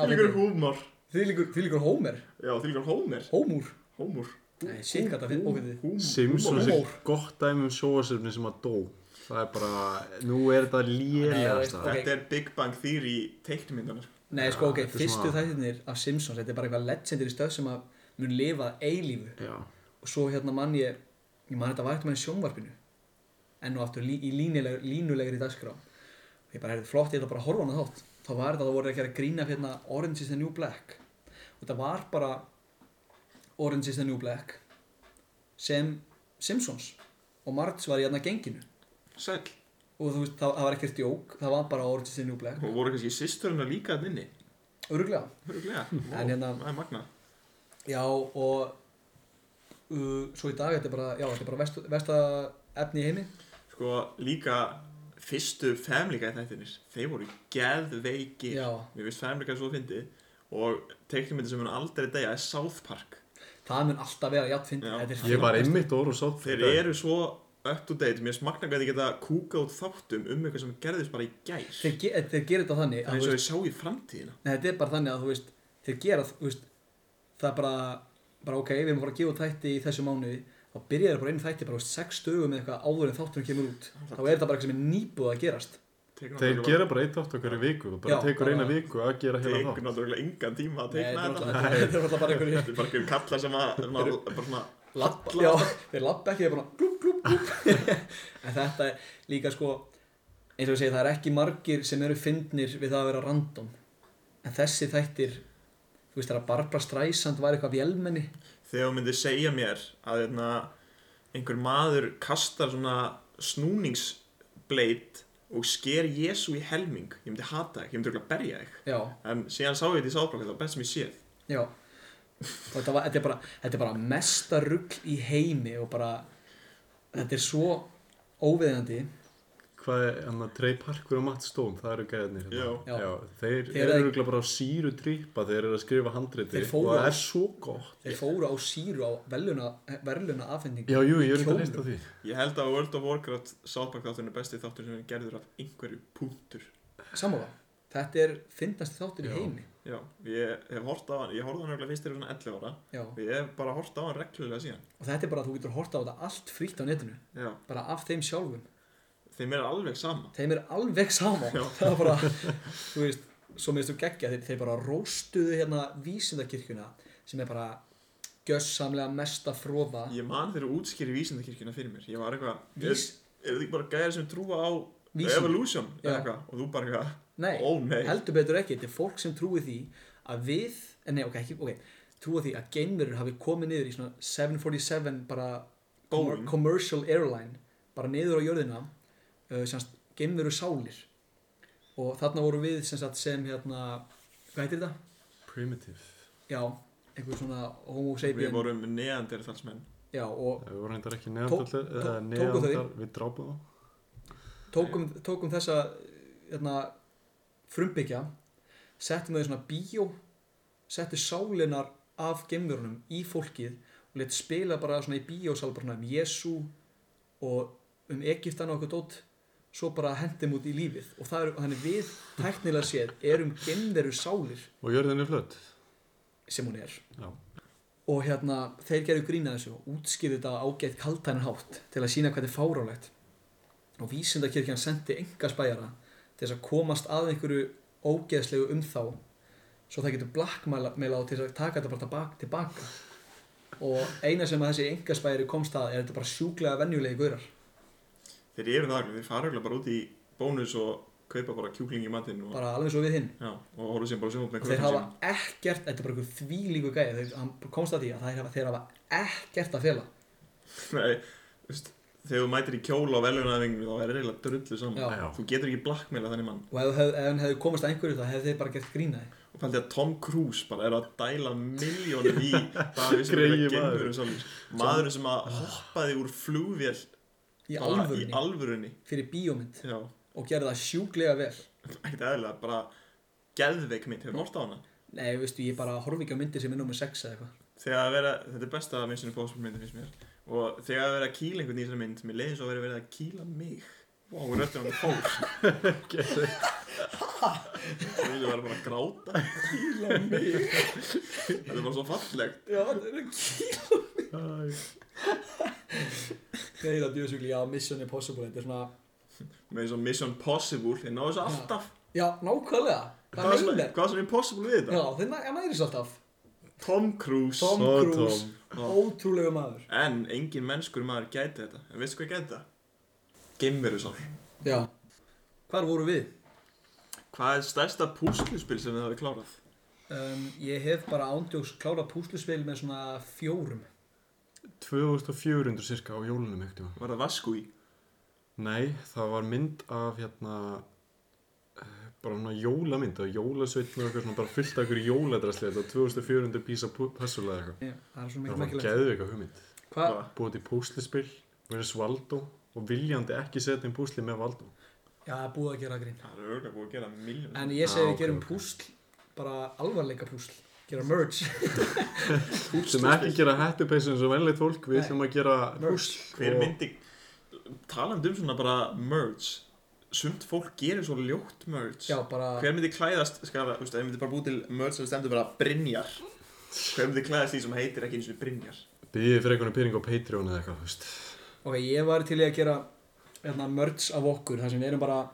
S2: Þýgur
S3: kleinurhingum
S2: Homer.
S3: þvílíkur hómer,
S2: Já, þýgur Homer.
S3: hómur
S2: Homer.
S3: nei, shit, hvað það fyrir ógætið
S2: Húmor.
S4: Simpsons er
S3: Húmor.
S4: gott dæmi um sjóasöfni sem að dó. Það er bara, nú er þetta lélegasta.
S3: Nei,
S2: Þetta er Big Bang Theory teiknumyndanar.
S3: nei, sko, ok,
S4: þetta er
S3: fyrstu
S4: svona-
S3: þættirnir af Simpsons, þetta er bara eitthvað legendary stöð sem að mun lifa eilífu
S4: Já,
S3: og svo hérna mann ég ég man þetta var eitthvað í sjónvarpinu enn og aftur lí, í línuleg, línulegri dagskrá og ég bara hefði flott, ég ætla bara að horfa á hana þátt þá var þetta, þá voru þeir að gera grína fyrir hérna Orange is the New Black og þetta var bara Orange is the New Black sem Simpsons og Marge var í hérna genginu
S2: Sæll.
S3: og þú veist, það, það var ekkert jók það var bara Orange is the New Black
S2: Og voru kannski sýsturinn að líka þann inni.
S3: öruglega
S2: Öruglega.
S3: En hérna-
S2: Það er magna.
S3: Já og uh, svo í dag þetta er bara, já, þetta er bara vest, vesta efni í heimi
S2: Sko, líka fyrstu Family Guy þættinir, þeir voru geðveikir.
S3: Já.
S2: Mér finnst Family Guy svo fyndið. Og teiknumyndir sem hann aldrei degja er South Park.
S3: Það mun alltaf vera jafn fyndið
S2: Já.
S3: Þetta er
S4: Ég var
S3: frábært.
S4: einmitt orð og sátt
S2: Þeir eru svo up to date. Mér finnst magna hvað þið geta kúka út þáttum um eitthvað sem gerðist bara í gær.
S3: Þeir, ge þeir gera þetta þannig
S2: Það
S3: að,
S2: er
S3: þú
S2: eins og
S3: veist,
S2: þið sjá í framtíðina.
S3: nei, Þetta er bara þannig að þú veist Þeir gera, þú veist Það er bara, bara ok, við erum bara að gefa út þætti í þessu mánuði Þá byrjar þeir bara einn þætti bara þú veist, sex dögum eða eitthvað áður en þátturinn kemur út Þá er þetta bara eitthvað sem er nýbúið að gerast
S2: Tekur
S4: Þeir
S2: náttúrulega-
S4: gera bara eitt átt okkur í viku og bara
S3: Já,
S4: tekur
S3: bara-
S4: eina viku að gera heila
S2: Tekur
S4: þátt
S2: náttúrulega engan tíma að
S3: Nei, þetta
S2: teikna
S3: er
S2: þetta.
S3: alltaf- [LAUGHS] þetta er alltaf bara einhverju
S2: Þetta er bara einhverjum kallar sem að, sem að bara svona
S3: labba, já, þeir labba ekki, þeir bara glúp, glúp, glúp [LAUGHS] en þetta er líka sko eins og ég segi, það er ekki margir sem eru fyndnir við það að vera random en þessi þættir þú veist það að Barbra Streisand var eitthvað vélmenni
S2: þegar þú myndir segja mér að hérna, einhver maður kastar svona snúningsbleit og sker Jésu í helming ég myndi hata þig, ég myndi örugglega berja þig
S3: já,
S2: en síðan sá ég þetta í sáðbrók það var best sem ég séð
S3: já og þetta, var, þetta, er bara, þetta er bara mesta rugl í heimi og bara þetta er svo óviðandi
S4: Hvað er hann að Trey Parker og Matt Stone, það eru gæðinir
S3: Já.
S4: Já, þeir
S3: Þeir
S4: eru
S3: eru-
S4: örgulega bara á síru trippa, þeir eru að skrifa handriti
S3: Þeir
S4: og
S3: fóru
S4: það
S3: á-
S4: er svo gott
S3: þeir fóru á síru á verðluna, verðluna afhendingu
S4: Já, jú, ég er ekki að
S3: Kjólum.
S4: hlusta því
S2: ég held að World of Warcraft sáðbrók þátturinn er besti þáttur sem er gerður af einhverju punktur
S3: samála, þetta er fyndnasti þáttur
S4: Já.
S3: í heimi
S2: já, ég hef hort á hann ég horfði á hann örugglega fyrst þegar ég var svona 11 ára
S3: já.
S2: og ég hef bara hort á hann reglulega síðan
S3: og þetta er bara að þú getur horta á þetta allt frítt á netinu
S2: já,
S3: bara af þeim sjálfum
S2: þeim er alveg sama
S3: þeim er alveg sama
S2: Já.
S3: það er bara, þú veist svo minnst þú geggja, þeir, þeir bara róstuðu hérna vísindakirkjuna sem er bara gjössamlega mesta fróða
S2: ég man þeirra útskýri vísindakirkjuna fyrir mér ég var eitthvað,
S3: Vís,
S2: er þetta ekki bara gæðir sem trúa á
S3: vísind,
S2: Evolution eða
S3: Já.
S2: eitthvað og þú bara eitthvað,
S3: nei,
S2: ó nei
S3: heldur betur ekki þetta er fólk sem trúi því að við eh, nei, ok, ekki, ok trúi því að geimverur hafi komið niður í svona 747 bara
S2: Boeing.
S3: commercial airline bara niður á jörðina uh, semst, geimveru sálir og þarna voru við sem, sagt, sem hérna, hvað heitir þetta?
S4: Primitive
S3: já, einhver svona homo
S2: Við
S3: sapien
S2: vorum neandertalsmenn
S3: já, og
S4: Við vorum reyndar ekki
S3: Tó-
S4: neðandar, eða
S3: tó- tóku þau?
S4: neðandar, við drápum þá
S3: tókum, tókum þessa hérna, frumbyggja settum þau í svona bíó settu sálinar af gemurunum í fólkið og let spila bara svona í bíósal bara svona um Jésu og um Egiptan og okkur dót svo bara hendum út í lífið og það er, þannig við tæknilega séð erum gemveru sálir
S4: Og jörðin er flött
S3: sem hún er
S4: Já.
S3: og hérna þeir gerðu grína þessu og útskýrðu þetta á ágætt kaltænin hátt til að sína hvað þetta er fárálegt og vísindakirkjan sendi engasbæjara til þess að komast að einhverju ógeðslegu um þá svo það getur blackmaila á til þess að taka þetta bara tabak, tilbaka og eina sem að þessi engasbæjari komst að er þetta bara sjúklega venjulegi gaurar
S2: Þeir eru það alveg, þeir fara alveg bara út í bónus og kaupa bara kjúkling í matinn og,
S3: bara alveg svo við hinn
S2: já, og horfum síðan bara sjóðum með
S3: og þeir hafa
S2: krökkum sínum.
S3: ekkert, þetta er bara einhver þvílíku gæði þeir hann komst að því að þeir hafa, þeir hafa ekkert að fela
S2: [LAUGHS] Nei, þú veist, þegar þú mætir í kjóla á veljónaðingum þá er reyla drullu saman
S3: Já.
S4: Já.
S2: Þú getur ekki blackmaila þannig mann
S3: og ef, hef, ef hann hefði komast að einhverju það hefði þeir bara gert grínaði
S2: og fældi að Tom Cruise bara er að dæla miljónum í
S3: [LAUGHS]
S2: það við sem er
S4: Greyið
S2: að
S4: maður.
S2: gengur um svolítið maðurinn sem að hoppaði úr flugvél
S3: Ah. í
S2: bara
S3: alvörunni
S2: í alvörunni
S3: fyrir bíómynd
S2: já,
S3: og gerði það sjúklega vel
S2: ekkert eðlilega, bara geðveik mynd, hefur hort á hana
S3: nei, veistu, ég bara horfi ekki á myndir sem er nummer 6 eða eitthvað
S2: þegar að vera, þetta er besta Mission Impossible myndin finnst mér og þegar að vera að kýla einhvern í þessari mynd mér leiðis að vera verið að kýla mig Vá, wow, röttum hann [LAUGHS] fór Þú vilja vera bara að gráta Kýla mig Þetta er bara svo fallegt
S3: já, það er ekki
S4: Æ,
S3: það er það djóðsugli, já, Mission Impossible þetta er svona,
S2: Með eins og Mission Possible Þeir náðu þessu alltaf
S3: já, nákvæmlega
S2: Hvað
S3: það
S2: er svona-
S3: meinar,
S2: hvað er svona impossible við
S3: já,
S2: þetta?
S3: þeir næ- hann næris alltaf
S2: Tom Cruise
S3: Tom
S4: Svo
S3: Cruise,
S4: tóm.
S2: Já.
S3: ótrúlega maður
S2: En engin mennskur maður gæti þetta En veistu hvað gæti þetta? geimverusál
S3: Já. Hvar voru við?
S2: Hvað er stærsta púsluspil sem þið hafið klárað?
S3: Um, ég hef bara ándjóks klára púsluspil með svona fjórum.
S4: 2400 cirka á jólunum ekkert tíma.
S2: Var það Vaskúi?
S4: Nei, það var mynd af hérna eh, bara svona jólamynd af jólasveitn og eitthvað svona bara fullt af ykkur jóladræsli þetta 2400 písa passulega eitthvað
S3: Já, það er svo
S4: það
S3: mikið
S4: var
S3: merkilegt.
S4: geðu eitthvað hugmynd
S3: Hvað?
S4: búið til púslispil verið svaldo og viljandi ekki setja inn púsli með valdó
S3: Já, búið að gera grín.
S2: Það er örgulega búið að gera miljón
S3: En ég segi
S4: Ah,
S3: við
S4: ok,
S3: gerum
S4: ok.
S3: púsl, bara alvarleika púsl. Gera merge.
S4: sem ekki gera hættupeysu eins og venleitt fólk við
S3: Nei.
S4: ætlum að gera
S3: Merge.
S2: Hver
S4: og-
S2: myndi talandi um svona bara merge sumt fólk gerir svo ljótt merge
S3: Já, bara...
S2: Hver myndi klæðast, skara, þú veist, ef við myndi bara búið til merge sem stendur bara Brynjar Hver myndi klæðast því sem heitir ekki eins og Brynjar?
S4: býðið fyrir einhvern pyrring um á Patreon eða eitthvað þú veist.
S3: Ok, ég var til í að gera hérna, merge af okkur, þar sem við erum bara,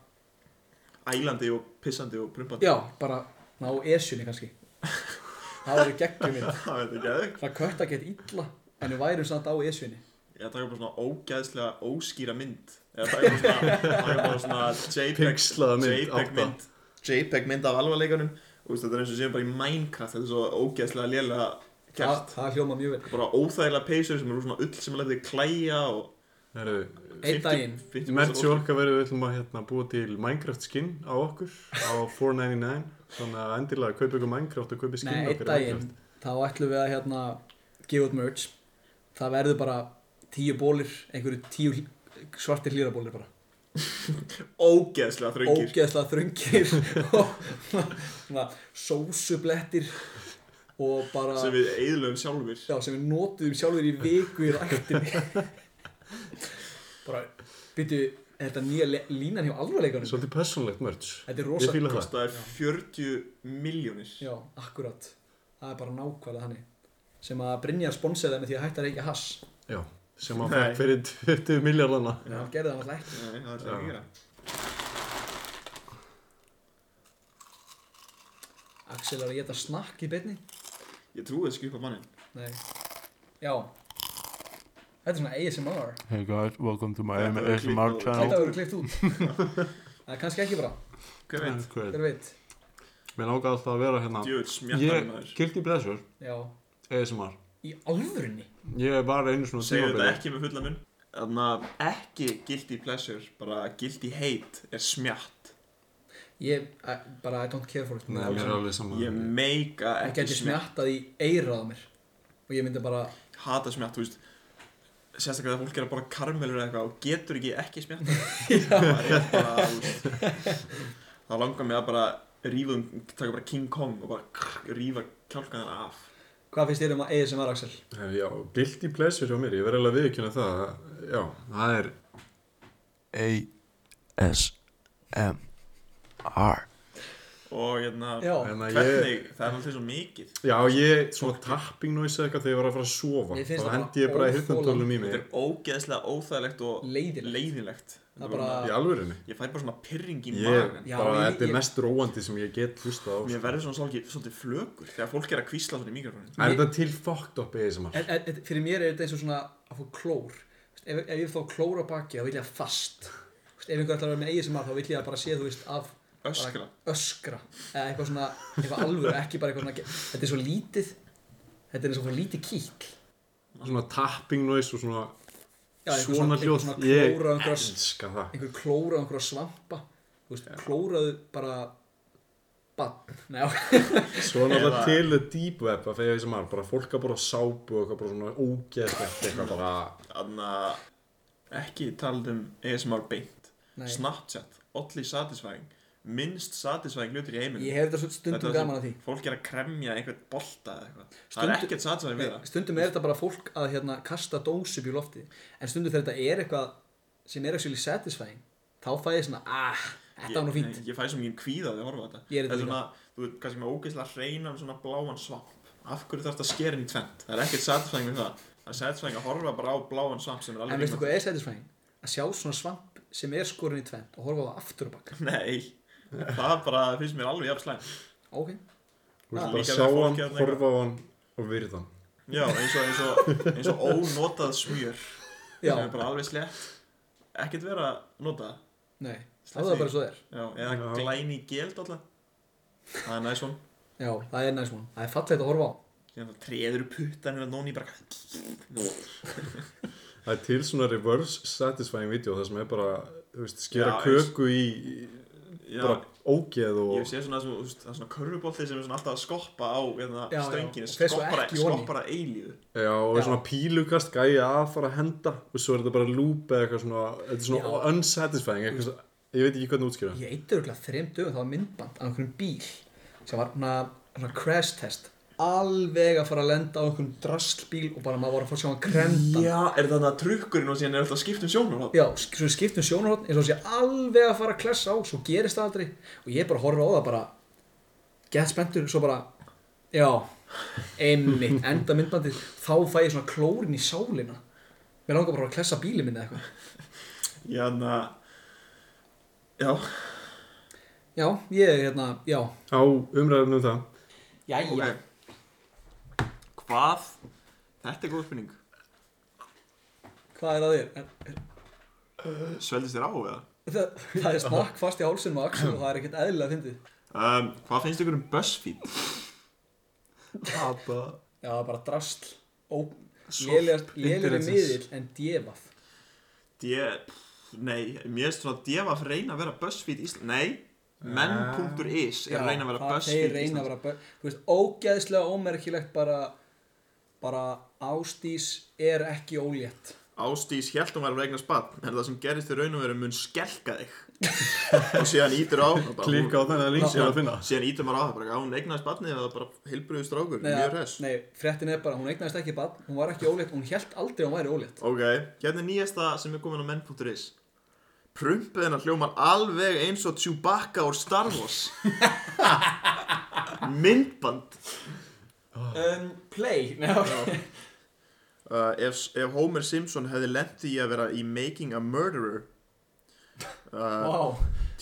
S2: Ælandi og pissandi og prumpandi
S3: já, bara ná esjunni kannski. Það verður geggjum minn.
S2: Það veit ekki að þau
S3: Það kött að geta illa, en við værum samt á esjunni.
S2: Ég ætla að taka bara svona ógæðslega óskýra mynd Ég ætla að taka bara svona, taka bara svona JPEG,
S4: Pixlaða mynd,
S2: JPEG
S4: átta.
S2: mynd JPEG mynd af alvarleikunum og veist, þetta er eins og séum bara í Minecraft þetta er svo ógæðslega lélega
S3: Það,
S4: Ah.
S2: gert
S3: það hljóma mjög vel.
S2: bara óþægilega peysur sem eru svona ull sem að leta þig klæja og
S4: Herru,
S3: Einn daginn.
S2: 50%
S4: mergi
S2: fólk-
S4: okkar verður við ætlum að hérna, búa til Minecraft skin á okkur á 499 þannig að endilega kaupa ykkur Minecraft og kaupa
S3: Nei,
S4: skin
S3: einn
S4: okkar í
S3: daginn,
S4: Minecraft.
S3: þá ætlum við að hérna, gefa út merge. Það verður bara tíu bólir, einhverju tíu hl- svartir hlýrabólir bara.
S2: ógæðslega þröngir
S3: Ógeðslega
S2: [LAUGHS]
S3: þröngir og svona sósublettir og bara...
S2: sem við eðlum sjálfur
S3: Já, sem við notuðum sjálfur í viku í rættinni Bara, byrju, er þetta nýja le- línan hjá alvarleikunum?
S4: svolítið personlegt merge
S3: Þetta er
S4: ég
S3: rosa
S4: fýla það
S2: það er 40 miljónir
S3: Já, akkurat Það er bara nákvæmlega þannig Sem að Brynjar sponsaði það með því að hætta að reykja hass
S4: Já, sem að
S2: Nei.
S4: fæk fyrir 20 miljardana
S3: En hann gerði það náttúrulega ekki
S2: Nei, það er það ekki að
S4: Já.
S2: gera
S3: Axel er að geta snakk í beinni
S2: ég trúi þessu ekki upp á mannin
S3: Nei Já Þetta er svona ASMR
S6: Hey guys, welcome to my
S2: Þetta verður
S6: ASMR
S2: klippað.
S6: channel.
S3: Þetta verður klift út Það er kannski ekki bra,
S2: hver veit
S6: Great.
S3: hver veit
S4: Mér langar alltaf að vera hérna
S2: djöð smjattar
S6: Ég,
S2: maður
S6: Guilty Pleasure,
S3: Já,
S6: ASMR.
S3: í alvörunni
S6: Ég var einu svona
S2: segir þetta
S6: tímabili.
S2: ekki með fulla mun þannig að ekki guilty pleasure bara guilty hate er smjatt
S3: Ég, eh, bara I don't care for it
S4: Nei, mér er alveg saman
S2: ég meika
S3: Það
S2: ekki
S3: geti smjattað í eirað á mér og ég myndi bara
S2: hata smjatt, þú veist sérstaklega þegar fólk er að bara karmelur eða eitthvað og getur ekki ekki smjatt
S3: [LAUGHS]
S2: þá langar mig að bara rífa um, taka bara King Kong og bara krr, rífa kjálkan þar af
S3: Hvað finnst þér um að ASMR Axel?
S4: Herri, Já, guilty pleasure hjá mér, ég verði alveg að viðkynna það Já, það er
S6: ASMR.
S2: og hérna
S3: Já,
S4: en að ég,
S2: hvernig, það er alltaf svo mikið
S4: Já, ég, svona tapping noise eða eitthvað þegar ég var að fara að sofa
S3: Mér finnst
S4: Þá
S3: það
S4: hendi ég bara
S3: bara
S4: hirtantólum í
S2: þetta
S4: mig
S2: er ógeðslega óþægilegt og
S3: Leiðilegt.
S2: leiðinlegt.
S3: Það
S2: Þetta
S3: bara-
S2: bara-
S4: Í alvörinni
S2: ég fær bara svona pyrring í
S4: Ég,
S2: magan
S3: Já,
S4: bara,
S3: ég-
S4: þetta
S3: ég-
S4: er mest róandi sem ég get hlusta á sko.
S2: mér verður svona svolítið, svolítið flögur þegar fólk er að kvísla svona í mikrofónin
S4: Er þetta til fucked up ASMR?
S3: en, en, en, Fyrir mér er þetta eins og svona að fá klór Vist, ef, ef ég fá klór á baki þá vil ég fast Vist, Ef einhver ætlar að vera með ASMR þá vil ég að bara sé þú veist af
S2: öskra
S3: bara öskra eða eitthvað svona, eitthvað alvöru ekki bara eitthvað svona ge- Þetta er svo lítið Þetta er eins og svo lítið kýll
S4: Svona tapping noise og svona
S3: Já, eitthvað
S4: Svona
S3: eitthvað
S4: hljóð,
S3: svona
S4: ég
S3: klóra einhverja s-
S4: elska það
S3: einhver klóra á einhverja svampa Þú veist, klóraðu bara bann, nei ok
S4: Svo er náttúrulega
S2: Eða-
S4: til the deep web að fegja ASMR Bara fólk að bara sápu og eitthvað bara svona ógeðslegt Eitthvað bara
S2: þannig að ekki talað um ASMR beint
S3: Nei.
S2: Snapchat, oddly satisfying minnst satisfying hlutir í heiminum
S3: Ég hef þetta svo-
S2: Þetta
S3: stundum
S2: er
S3: gaman að
S2: sem
S3: því
S2: fólk er að kremja einhvern bolta eða eitthvað það er
S3: Stundum-
S2: ekkert satisfying við það
S3: Stundum er þetta bara fólk að hérna, kasta dós upp í lofti En stundum þegar þetta er eitthvað sem er actually satisfying Þá fæ ég svona, ah, þetta var nú fínt
S2: ég, ég fæ svo mikið kvíða við að horfa á þetta
S3: Ég er
S2: það
S3: þetta
S2: er svona, þú veit, kannski með ógeðslega hreinan svona bláan svamp af hverju þarf þetta að skera inn í tvent það er ekkert satisfying við það það er satisfying að horfa bara á bláan svamp sem er
S3: En
S2: alveg
S3: veistu hvað er satisfying? Að sjá svona svamp sem er skorin í tvend og horfa á það aftur og bakk
S2: Nei, það bara finnst mér alveg jafn slæm
S3: Ok,
S4: Þú veist
S2: Ah.
S4: bara
S2: Líka
S4: sjá
S2: þegar fólk
S4: hann,
S2: hérna eitthvað-
S4: horfa á hann og virða hann
S2: Já, eins og, eins og, eins og ónotað smjör
S3: já,
S2: sem er bara alveg slett ekkert vera að nota
S3: Nei, það er bara svo þér
S2: Já, eða
S4: Já.
S2: glæni geld alltaf Það er næs von
S3: Já, það er næst svona Það er fallegt að horfa á
S2: Síðan það treður upp puttan hérna nóni bara
S4: Það er til svona reverse satisfying video það sem er bara, þú veist, skera
S2: Já,
S4: köku í
S2: Já,
S4: bara ógeð og
S2: ég sé svona sem, þú veist, það er svona körfubolti sem er svona alltaf að skoppa á hérna,
S3: Já, já,
S2: stönginu,
S3: og fer svo
S2: skoppara,
S3: ekki ofan í.
S2: skoppara eilíðu
S4: já, og
S3: Já.
S4: svona pílugast gæja að fara að henda og svo er þetta bara loop eða eitthvað svona þetta er svona
S3: Já.
S4: unsatisfying eitthvað, svona- ég veit ekki hvernig að útskýra
S3: Ég eittur örugglega þreim dögum það var myndband af einhverjum bíl sem var svona, svona crash test alveg að fara að lenda á einhverjum drastlbíl og bara maður var að fá að sjá hann krenda
S2: Já, er þetta trukkurinn og síðan er alltaf skipt um sjónur
S3: Já, sk- svo skiptum sjónarhótt eins og sé alveg að fara að klessa á svo gerist það aldrei og ég bara horfa á það bara gett spenntur svo bara já, einmitt, enda myndbandið þá fæ ég svona klórin í sálina mér langar bara að klessa bílið minni eitthvað
S2: Já, þannig að Hérna- Já,
S3: Já, ég, hérna, já
S4: á umræðum um það
S3: Jæja
S2: ok Hvað Þetta er góð spurning
S3: Hvað er að þér? Er,
S2: Sveldist þér á eða?
S3: [LAUGHS] Það, það er snakk fast í hálsinn og axl og það er ekkert eðlilega fyndið.
S2: Um, hvað finnst ykkur um BuzzFeed? Hata
S3: Já, það er bara drasl, lélir
S4: internetsins.
S3: miðil en djefað.
S2: D... Nei, mér finnst svona Devaf reyna að vera BuzzFeed Ísland Nei, menn.is er að reyna að vera
S3: það- þeir
S2: BuzzFeed
S3: reyna að
S2: Ísland
S3: vera BuzzFeed. Þú veist, ógeðslega ómerkilegt bara, bara ástís er ekki ólétt.
S2: Ástís held hún var að regna spatt en það sem gerist í raun og veru mun skelka þig [LAUGHS] og síðan ítur á
S4: klikka á þennan link sem ég er að finna
S2: síðan ítur maður á það bara, já, hún eignaði spattni eða bara heilbröðu strákur, mjög
S3: að-
S2: res
S3: nei, fréttin er bara, hún eignaðist ekki bann, hún var ekki ólétt, hún held aldrei að hún væri ólétt.
S2: Ok, hérna er nýjasta sem er komin á menn.is Prumpið hennar hljómar alveg eins og Chewbacca úr Star
S3: [LAUGHS]
S2: Wars Myndband
S3: Um, play, já.
S2: uh, ef, ef Homer Simpson hefði lent í að vera í Making a Murderer uh,
S3: [LAUGHS] Vá,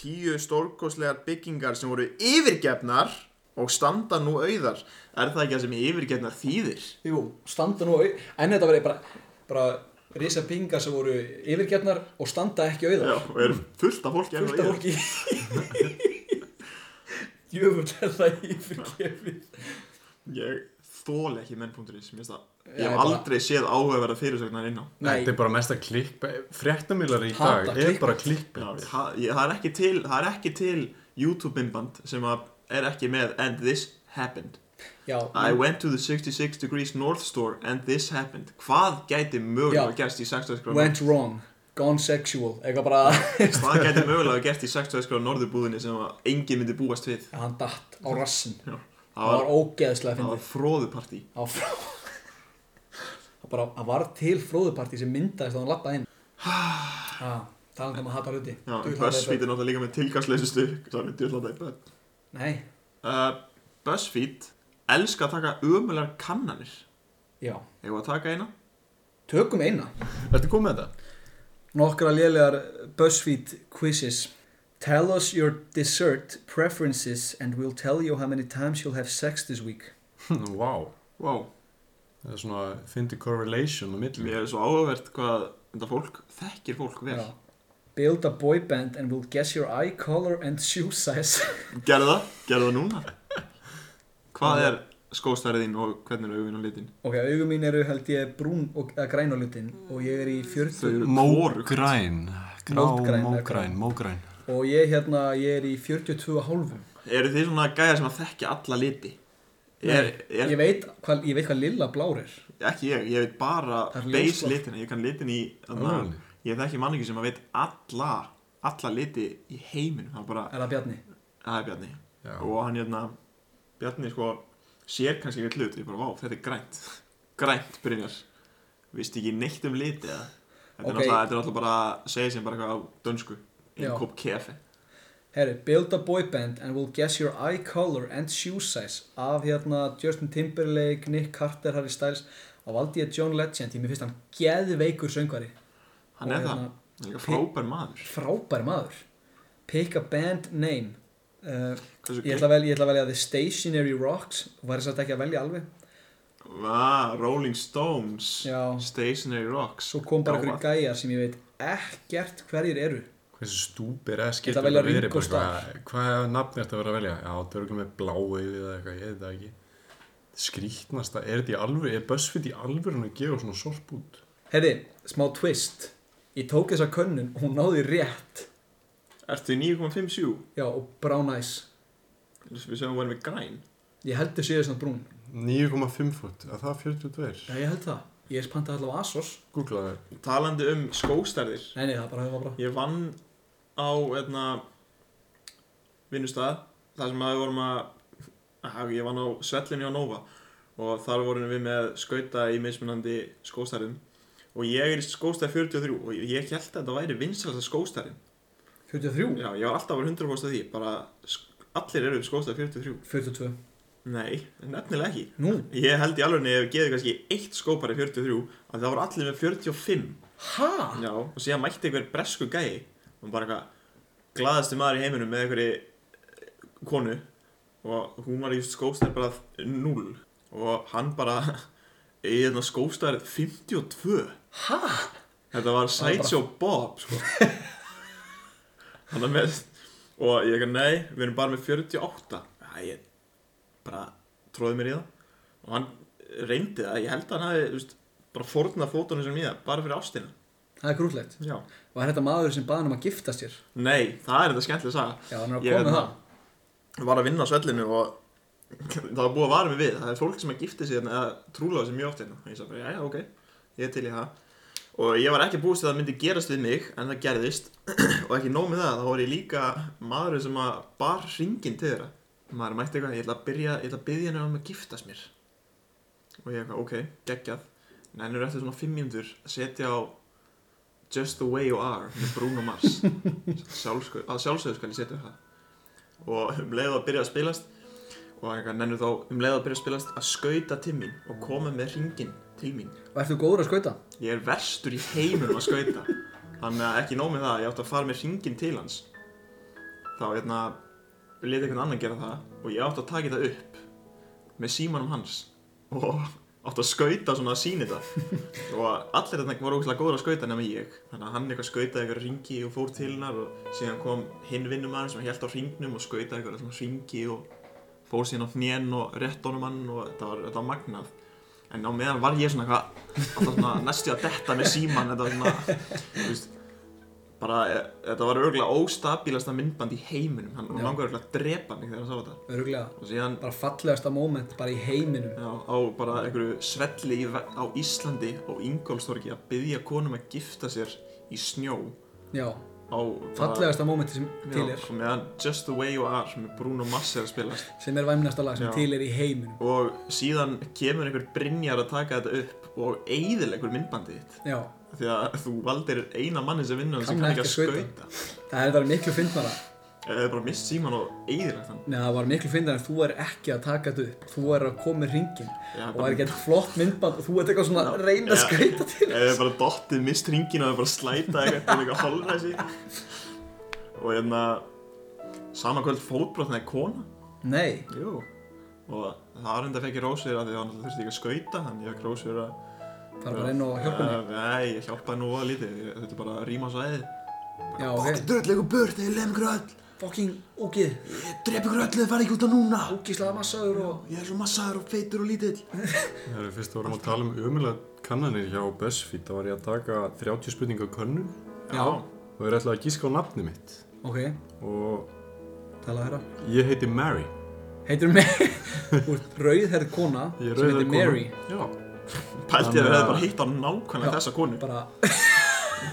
S2: Tíu stórkoslegar byggingar sem voru yfirgefnar og standa nú auðar Er það ekki það sem yfirgefnar þýðir?
S3: jú, standa nú, au- en þetta verið bara, bara risa pingar sem voru yfirgefnar og standa ekki auðar.
S2: Já, og er fullt af fólki ennþá
S3: fullt af
S2: hérna í þeim.
S3: fólki [LAUGHS] djöfull er það yfirgefið
S2: Ég þóli ekki menn.is Mér finnst það-
S3: Já,
S2: Ég
S3: ég
S2: hef
S3: bara-
S2: aldrei séð áhugaverða fyrirsögnar inn á
S4: Þetta er bara mesta klikk fréttamílar í
S3: Hata
S4: dag er
S3: clickbait.
S4: bara klikk
S2: Já, ég- það- ég- það er ekki til, það er ekki til YouTube-inband sem að er ekki með And this happened
S3: já,
S2: I went to the 66 degrees north store and this happened Hvað gæti mögulega
S3: Já.
S2: gerst í 60
S3: went wrong, gone sexual eitthvað bara,
S2: Hvað gæti mögulega gerst í 60 gráð norðurbúðinni sem að enginn myndi búast við
S3: [LAUGHS] hann datt á rassin
S2: Já.
S3: það var ógeðslega
S2: það var
S3: fyndið
S2: fróðupartí
S3: á frá [LAUGHS] það bara, hann var til fróðupartí sem myndaðist þá hann lappaði
S2: [SIGHS]
S3: inn ah, talandi um að hata hluti
S2: Já,
S3: Djöfull hata ég
S2: BuzzFeed er náttúrulega líka með tilgangsleysustu Sorry, djúðlanda í börn
S3: börn. nei,
S2: uh, BuzzFeed elska að taka ömulegar kannanir
S3: já,
S2: Eða að taka eina?
S3: tökum eina
S4: Ertu komið með þetta?
S3: Nokkra lélegar BuzzFeed quizzes. Tell us your dessert preferences and we'll tell you how many times you'll have sex this week.
S4: Hm, Vá,
S2: Wow.
S4: það er svona fyndi correlation á milli
S2: Mér er svo áhugavert hvað þetta fólk þekkir fólk vel
S3: Já. Build a boy band and we'll guess your eye color and shoe size. [LAUGHS]
S2: Gerðu það, gerðu það núna Hvað er skóstærðin og hvernig er augun og litin?
S3: ok, augum mín eru held ég brún og eða græn á litin og ég er í 40
S6: Mógræn Grá,
S3: Mógræn,
S6: mógræn, mógræn
S3: og ég hérna, ég er í 42 og hálfum.
S2: Eru þið svona gæja sem að þekkja alla liti? Er, er,
S3: Ég veit hvað, ég veit hvað lilla blár er.
S2: Ekki ég, ég veit bara
S3: Það er
S2: base
S3: ljósblá.
S2: litina Ég kann litin í anna,
S4: Alveg?
S2: Ég þekki manningi sem að veit alla alla liti í heiminum Það er bara,
S3: Er það Bjarni?
S2: það er Bjarni
S4: Já.
S2: og hann hérna Bjarni sko sér kannski eitthvað hlut ég bara, vá, þetta er grænt [LAUGHS] grænt, Brynjar vist ekki neitt um liti eða
S3: Ok.
S2: þetta er náttúrulega þetta er náttúrulega bara að segja sem bara eitthvað á dönsku
S3: Já.
S2: einn kopp kefi
S3: Herri, build a boy band and we'll guess your eye color and shoe size af hérna Justin Timberlake, Nick Carter, Harry Styles og valdi ég John Legend, ég mér finnst hann geðveikur söngvari,
S2: hann
S3: Og
S2: er það,
S3: hérna-
S2: hann er líka frábær maður
S3: frábær maður Pick a band name uh,
S2: hversu
S3: ég, ætla að velja, ég ætla að velja The Stationary Rocks væri satt ekki að velja alveg
S2: ah, Rolling Stones
S3: Já.
S2: Stationary Rocks
S3: svo kom bara
S2: Gáfað.
S3: einhverju gæjar sem ég veit ekkert hverjir eru
S4: Hversu stúpir eða
S3: Ég ætla
S4: skilur
S3: að velja
S4: það verið
S3: Ringo
S4: bara eitthvað, Hvað nafn er þetta að vera að velja? Já, þetta er okkur með blá auðið eða eitthvað, ég veit það ekki Skrítnasta, er þetta í alvöru, er BuzzFeed í alvöru að gefa svona sorp út?
S3: Herri, smá twist Ég tók þessa könnun og hún náði rétt
S2: Ertu í 9,57?
S3: Já, og brown eyes
S2: Við sögum að verðum við græn
S3: Ég held þau séu samt brún
S4: 9,5 fút, að það er 42
S3: Já, ég held það Ég pantaði allavega Asos
S4: Googlaði
S2: Talandi um skóstærðir
S3: Nei, nei, það bara hefur bara
S2: Ég vann á einna, vinnustað þar sem að við vorum að að ég vann á Svellinni á Nova og þar vorum við með skauta í mismunandi skóstærðum og ég er í skóstærð 43 og ég held að þetta væri vinsalasta skóstærðin
S3: 43
S2: Já, ég var alltaf að vera 100% af því bara sk- allir eru upp skóstærð 43
S3: 42
S2: Nei, nefnilega ekki
S3: Nú,
S2: Ég held í alveg að ég hef gefið kannski eitt skópar í 43 að það voru allir með 45
S3: ha?
S2: Já, og síðan mætti einhver bresku gæi og bara eitthvað glaðasti maður í heiminum með einhverju konu og hún var í skófstæð bara 0 og hann bara í hérna þarna skófstæð 52
S3: Ha?
S2: þetta var Sideshow Bob sko. hann er með og ég ekki nei, við erum bara með 48 Æ, ég bara tróði mér í það og hann reyndi það, ég held að hann hafi þú veist, bara fórnað fótunum sem í það, bara fyrir ástina
S3: Það er grútlegt
S2: Já.
S3: Var þetta maður sem baði hann um að gifta sér?
S2: Nei, það er þetta skemmtileg saga
S3: Já, hann er að
S2: Ég
S3: koma með
S2: hérna-
S3: það
S2: Var að vinna á svellinu og það var búið að vara mig við Það er fólk sem að gifti sig hérna, eða trúlega sem mjög oft hérna Og Ég sagði bara, jæja, ok, ég er til í það Og ég var ekki búist að það myndi gerast við mig En það gerðist [CLEARS THROAT] Og ekki nóg með það, þá var ég líka maður sem að bar hringin til þeirra Maður mætti eitthvað, ég ætla að byrja, ég ætla að byrja hennar um að giftast mér Og ég eitthvað, ok, geggjað En henni er eftir svona fimm mínútur að setja á Just the way you are með Bruno Mars Sjálfsku, að sjálfsögðu skal ég setja það og um leið að byrja að spilast og eitthvað nennur þá um leið að byrja að spilast að skauta til mín og koma með ringin til mín
S3: Og ertu góður að skauta?
S2: ég er verstur í heiminum að skauta þannig að ekki nóg með það, ég átti að fara með ringin til hans þá hérna leti einhvern annan gera það og ég átti að taka þetta upp með símanum hans og [LAUGHS] átti að skauta svona að síni þetta og allir þetta voru ógæslega góður að skauta nema ég þannig að hann eitthvað skautaði eitthvað ringi og fór til hennar og síðan kom hinn vinnum hann sem held á ringnum og skautaði eitthvað svona ringi og fór síðan á hnén og rétt honum hann og þetta var, þetta var magnað en á meðan var ég svona eitthvað alltaf svona næstu að detta með síman þetta var svona þú veist, bara e, þetta var örgulega óstabilasta myndband í heiminum hann
S3: Já.
S2: langar örgulega að drepa mig þegar hann sá þetta
S3: Öruglega
S2: og síðan
S3: Bara fallegasta moment bara í heiminum
S2: já, á bara einhverju svelli í, ve- á Íslandi og Ingolstorgi að byggja konum að gifta sér í snjó
S3: Já,
S2: á bara-
S3: fallegasta momenti sem til
S2: já,
S3: er
S2: og meðan Just the way you are með Bruno Mars er að spilast
S3: sem er væmnasta lag sem
S2: Já.
S3: til er í heiminum
S2: og síðan kemur einhver Brynjar að taka þetta upp og eigðilegur myndbandið þitt
S3: Já,
S2: því að þú valdir eina manni sem vinnur sem
S3: Kann
S2: kann ekki
S3: ekki
S2: að
S3: að
S2: skauta
S3: það hefði verið miklu fyndnara
S2: eða þau bara mist síman og eðilegt hann
S3: Nei, það var miklu fyndnara en þú er ekki að taka þetta upp Þú er að koma með ringin
S2: Já,
S3: og það
S2: bara-
S3: er ekkert flott myndband og þú ert eitthvað svona að reyna að
S2: Já.
S3: skauta til
S2: eða þau bara dottið mist ringin og þau bara slæta eitthvað til eitthvað holræsi og hérna saman kvöld fótbrotnaði kona
S3: Nei,
S2: Jú. og það var enda fekk ég rósir að því að hann þurfti ekki að skauta þannig ég fekk rósir að
S3: það er bara inn og hjálpa mér
S2: Eh, Nei, ég hjálpaði nú að lítið ég þurfti bara að rýma svæðið
S3: Já, ok,
S2: Dröllegu burt, ég lem gröll
S3: fucking ógið
S2: Ég drepi gröllið, fara ekki út á núna
S3: Ógislega massaður og
S2: Ég er svo massaður og feitur og
S4: [LAUGHS]
S2: lítill
S4: Það eru fyrst að vorum að tala um umulega kannanir hjá BuzzFeed þá var ég að taka 30 spurninga könnun
S3: Já,
S4: og ég er ætlaði að gíska á nafni mitt
S3: ok,
S4: og
S3: talaðu herra
S4: ég heiti Mary
S3: Heitir Mary Þú ert rauðherð kona
S4: Ég er
S3: sem heitir
S4: rauðhærð kona.
S3: Mary
S4: Já
S2: Pælti
S4: Þannig
S2: ég að það
S4: að-
S2: bara hitt á nákvæmlega
S3: Já.
S2: þessa konu
S3: Bara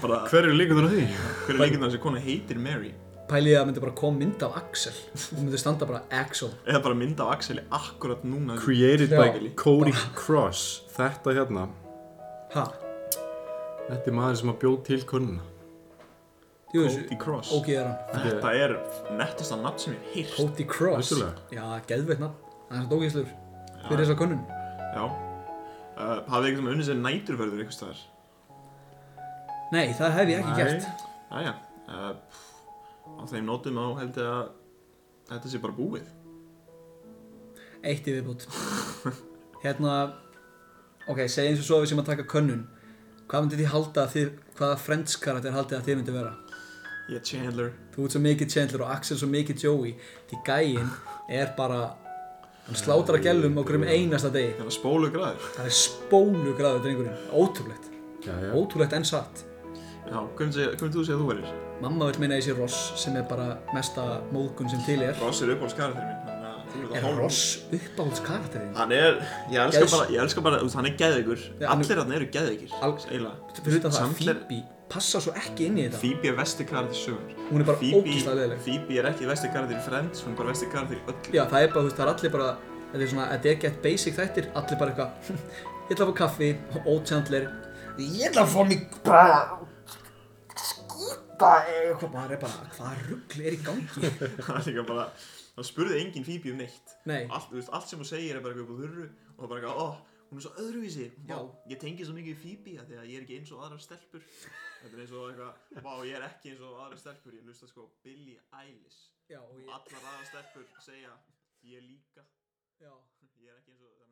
S2: bara,
S4: Hver eru líkundur á því?
S2: Hver er líkinn að þessi kona heitir Mary?
S3: Pæliði að það myndi bara koma mynd af Axel og myndi standa bara Axel
S2: Eða bara mynda af Axeli akkurat núna
S4: Created by
S3: Já.
S4: Cody Cross Þetta hérna
S3: Ha?
S4: Þetta er maður sem að bjóð til könnuna
S3: Jú
S2: Cody
S3: þessu
S2: Cross
S3: Ógið er hann
S2: Þetta er nettasta nafn sem ég hef heyrt
S3: Cody Cross
S4: Vissulega.
S3: Já, geðveitt nafn Það er svona ógíslur Fyrir þessa konun
S2: Já uh, Hafið eitthvað unnið sér næturverður einhvers staðar?
S3: Nei, það hef ég ekki gert
S2: Jæja uh, Á þeim nótum á held ég að þetta sé bara búið
S3: Eitt [LAUGHS] í viðbútt Hérna Ok, segjum svo svo að við sem að taka könnun Hvað myndið þið halda að þið, hvaða friends karakter haldið að þið myndið vera?
S2: Ég er Chandler
S3: Þú ert svo mikið Chandler og Axel svo mikið Joey Því gæinn er bara Hann slátar að gælum á hverjum einasta degi
S2: Það er spólu græður
S3: Það er spólu græður drengurinn Ótrúlegt
S4: Já, já.
S3: Ótrúlegt en satt
S2: Já, hvernig segja- hvernig þú segja að þú verður?
S3: Mamma vill meina þessi Ross sem er bara mesta móðgun sem til er
S2: Ross er upp á skarðir minn Þannig að þú verður
S3: Er
S2: að hálfa
S3: Ross uppáhalds karakterinn?
S2: Hann er, ég elska
S3: Geðs-
S2: bara, ég elska bara, þú veist, hann er geðveikur
S3: Já, hann er-
S2: Allir hann eru geðveikir,
S3: Al-
S2: eiginlega
S3: Fyrir þetta það að
S2: Samt er-
S3: Phoebe passa svo ekki inn í þetta
S2: Phoebe er vesti karakter sögur
S3: Hún er bara ógeðslega
S2: Phoebe,
S3: leiðileg.
S2: Phoebe er ekki vesti karakter í Friends, hún er bara vesti karakter í öllu
S3: Já, það er bara, þú veist, það er allir bara Þetta er svona, þetta er gett basic þættir Allir bara eitthvað [LAUGHS] Ég ætla að fá kaffi, ótjandler Ég ætla að fá mig bara Skýta Eitthvað maður er bara, hvaða rugl er í gangi?
S2: Það er líka bara, það spurði enginn Phoebe um neitt
S3: Nei,
S2: allt, þú veist, allt sem hún segir er bara eitthvað upp á þurru og það er bara eitthvað, ó, hún er svo öðruvísi vá, ég tengi svo mikið við Phoebe af því að ég er ekki eins og aðrar stelpur þetta er eins og eitthvað, vá, ég er ekki eins og aðrar stelpur ég hlusta sko Billie Eilish
S3: já, og
S2: og
S3: ég
S2: allar aðrar stelpur segja ég líka,
S3: já.
S2: ég er ekki eins og þannig að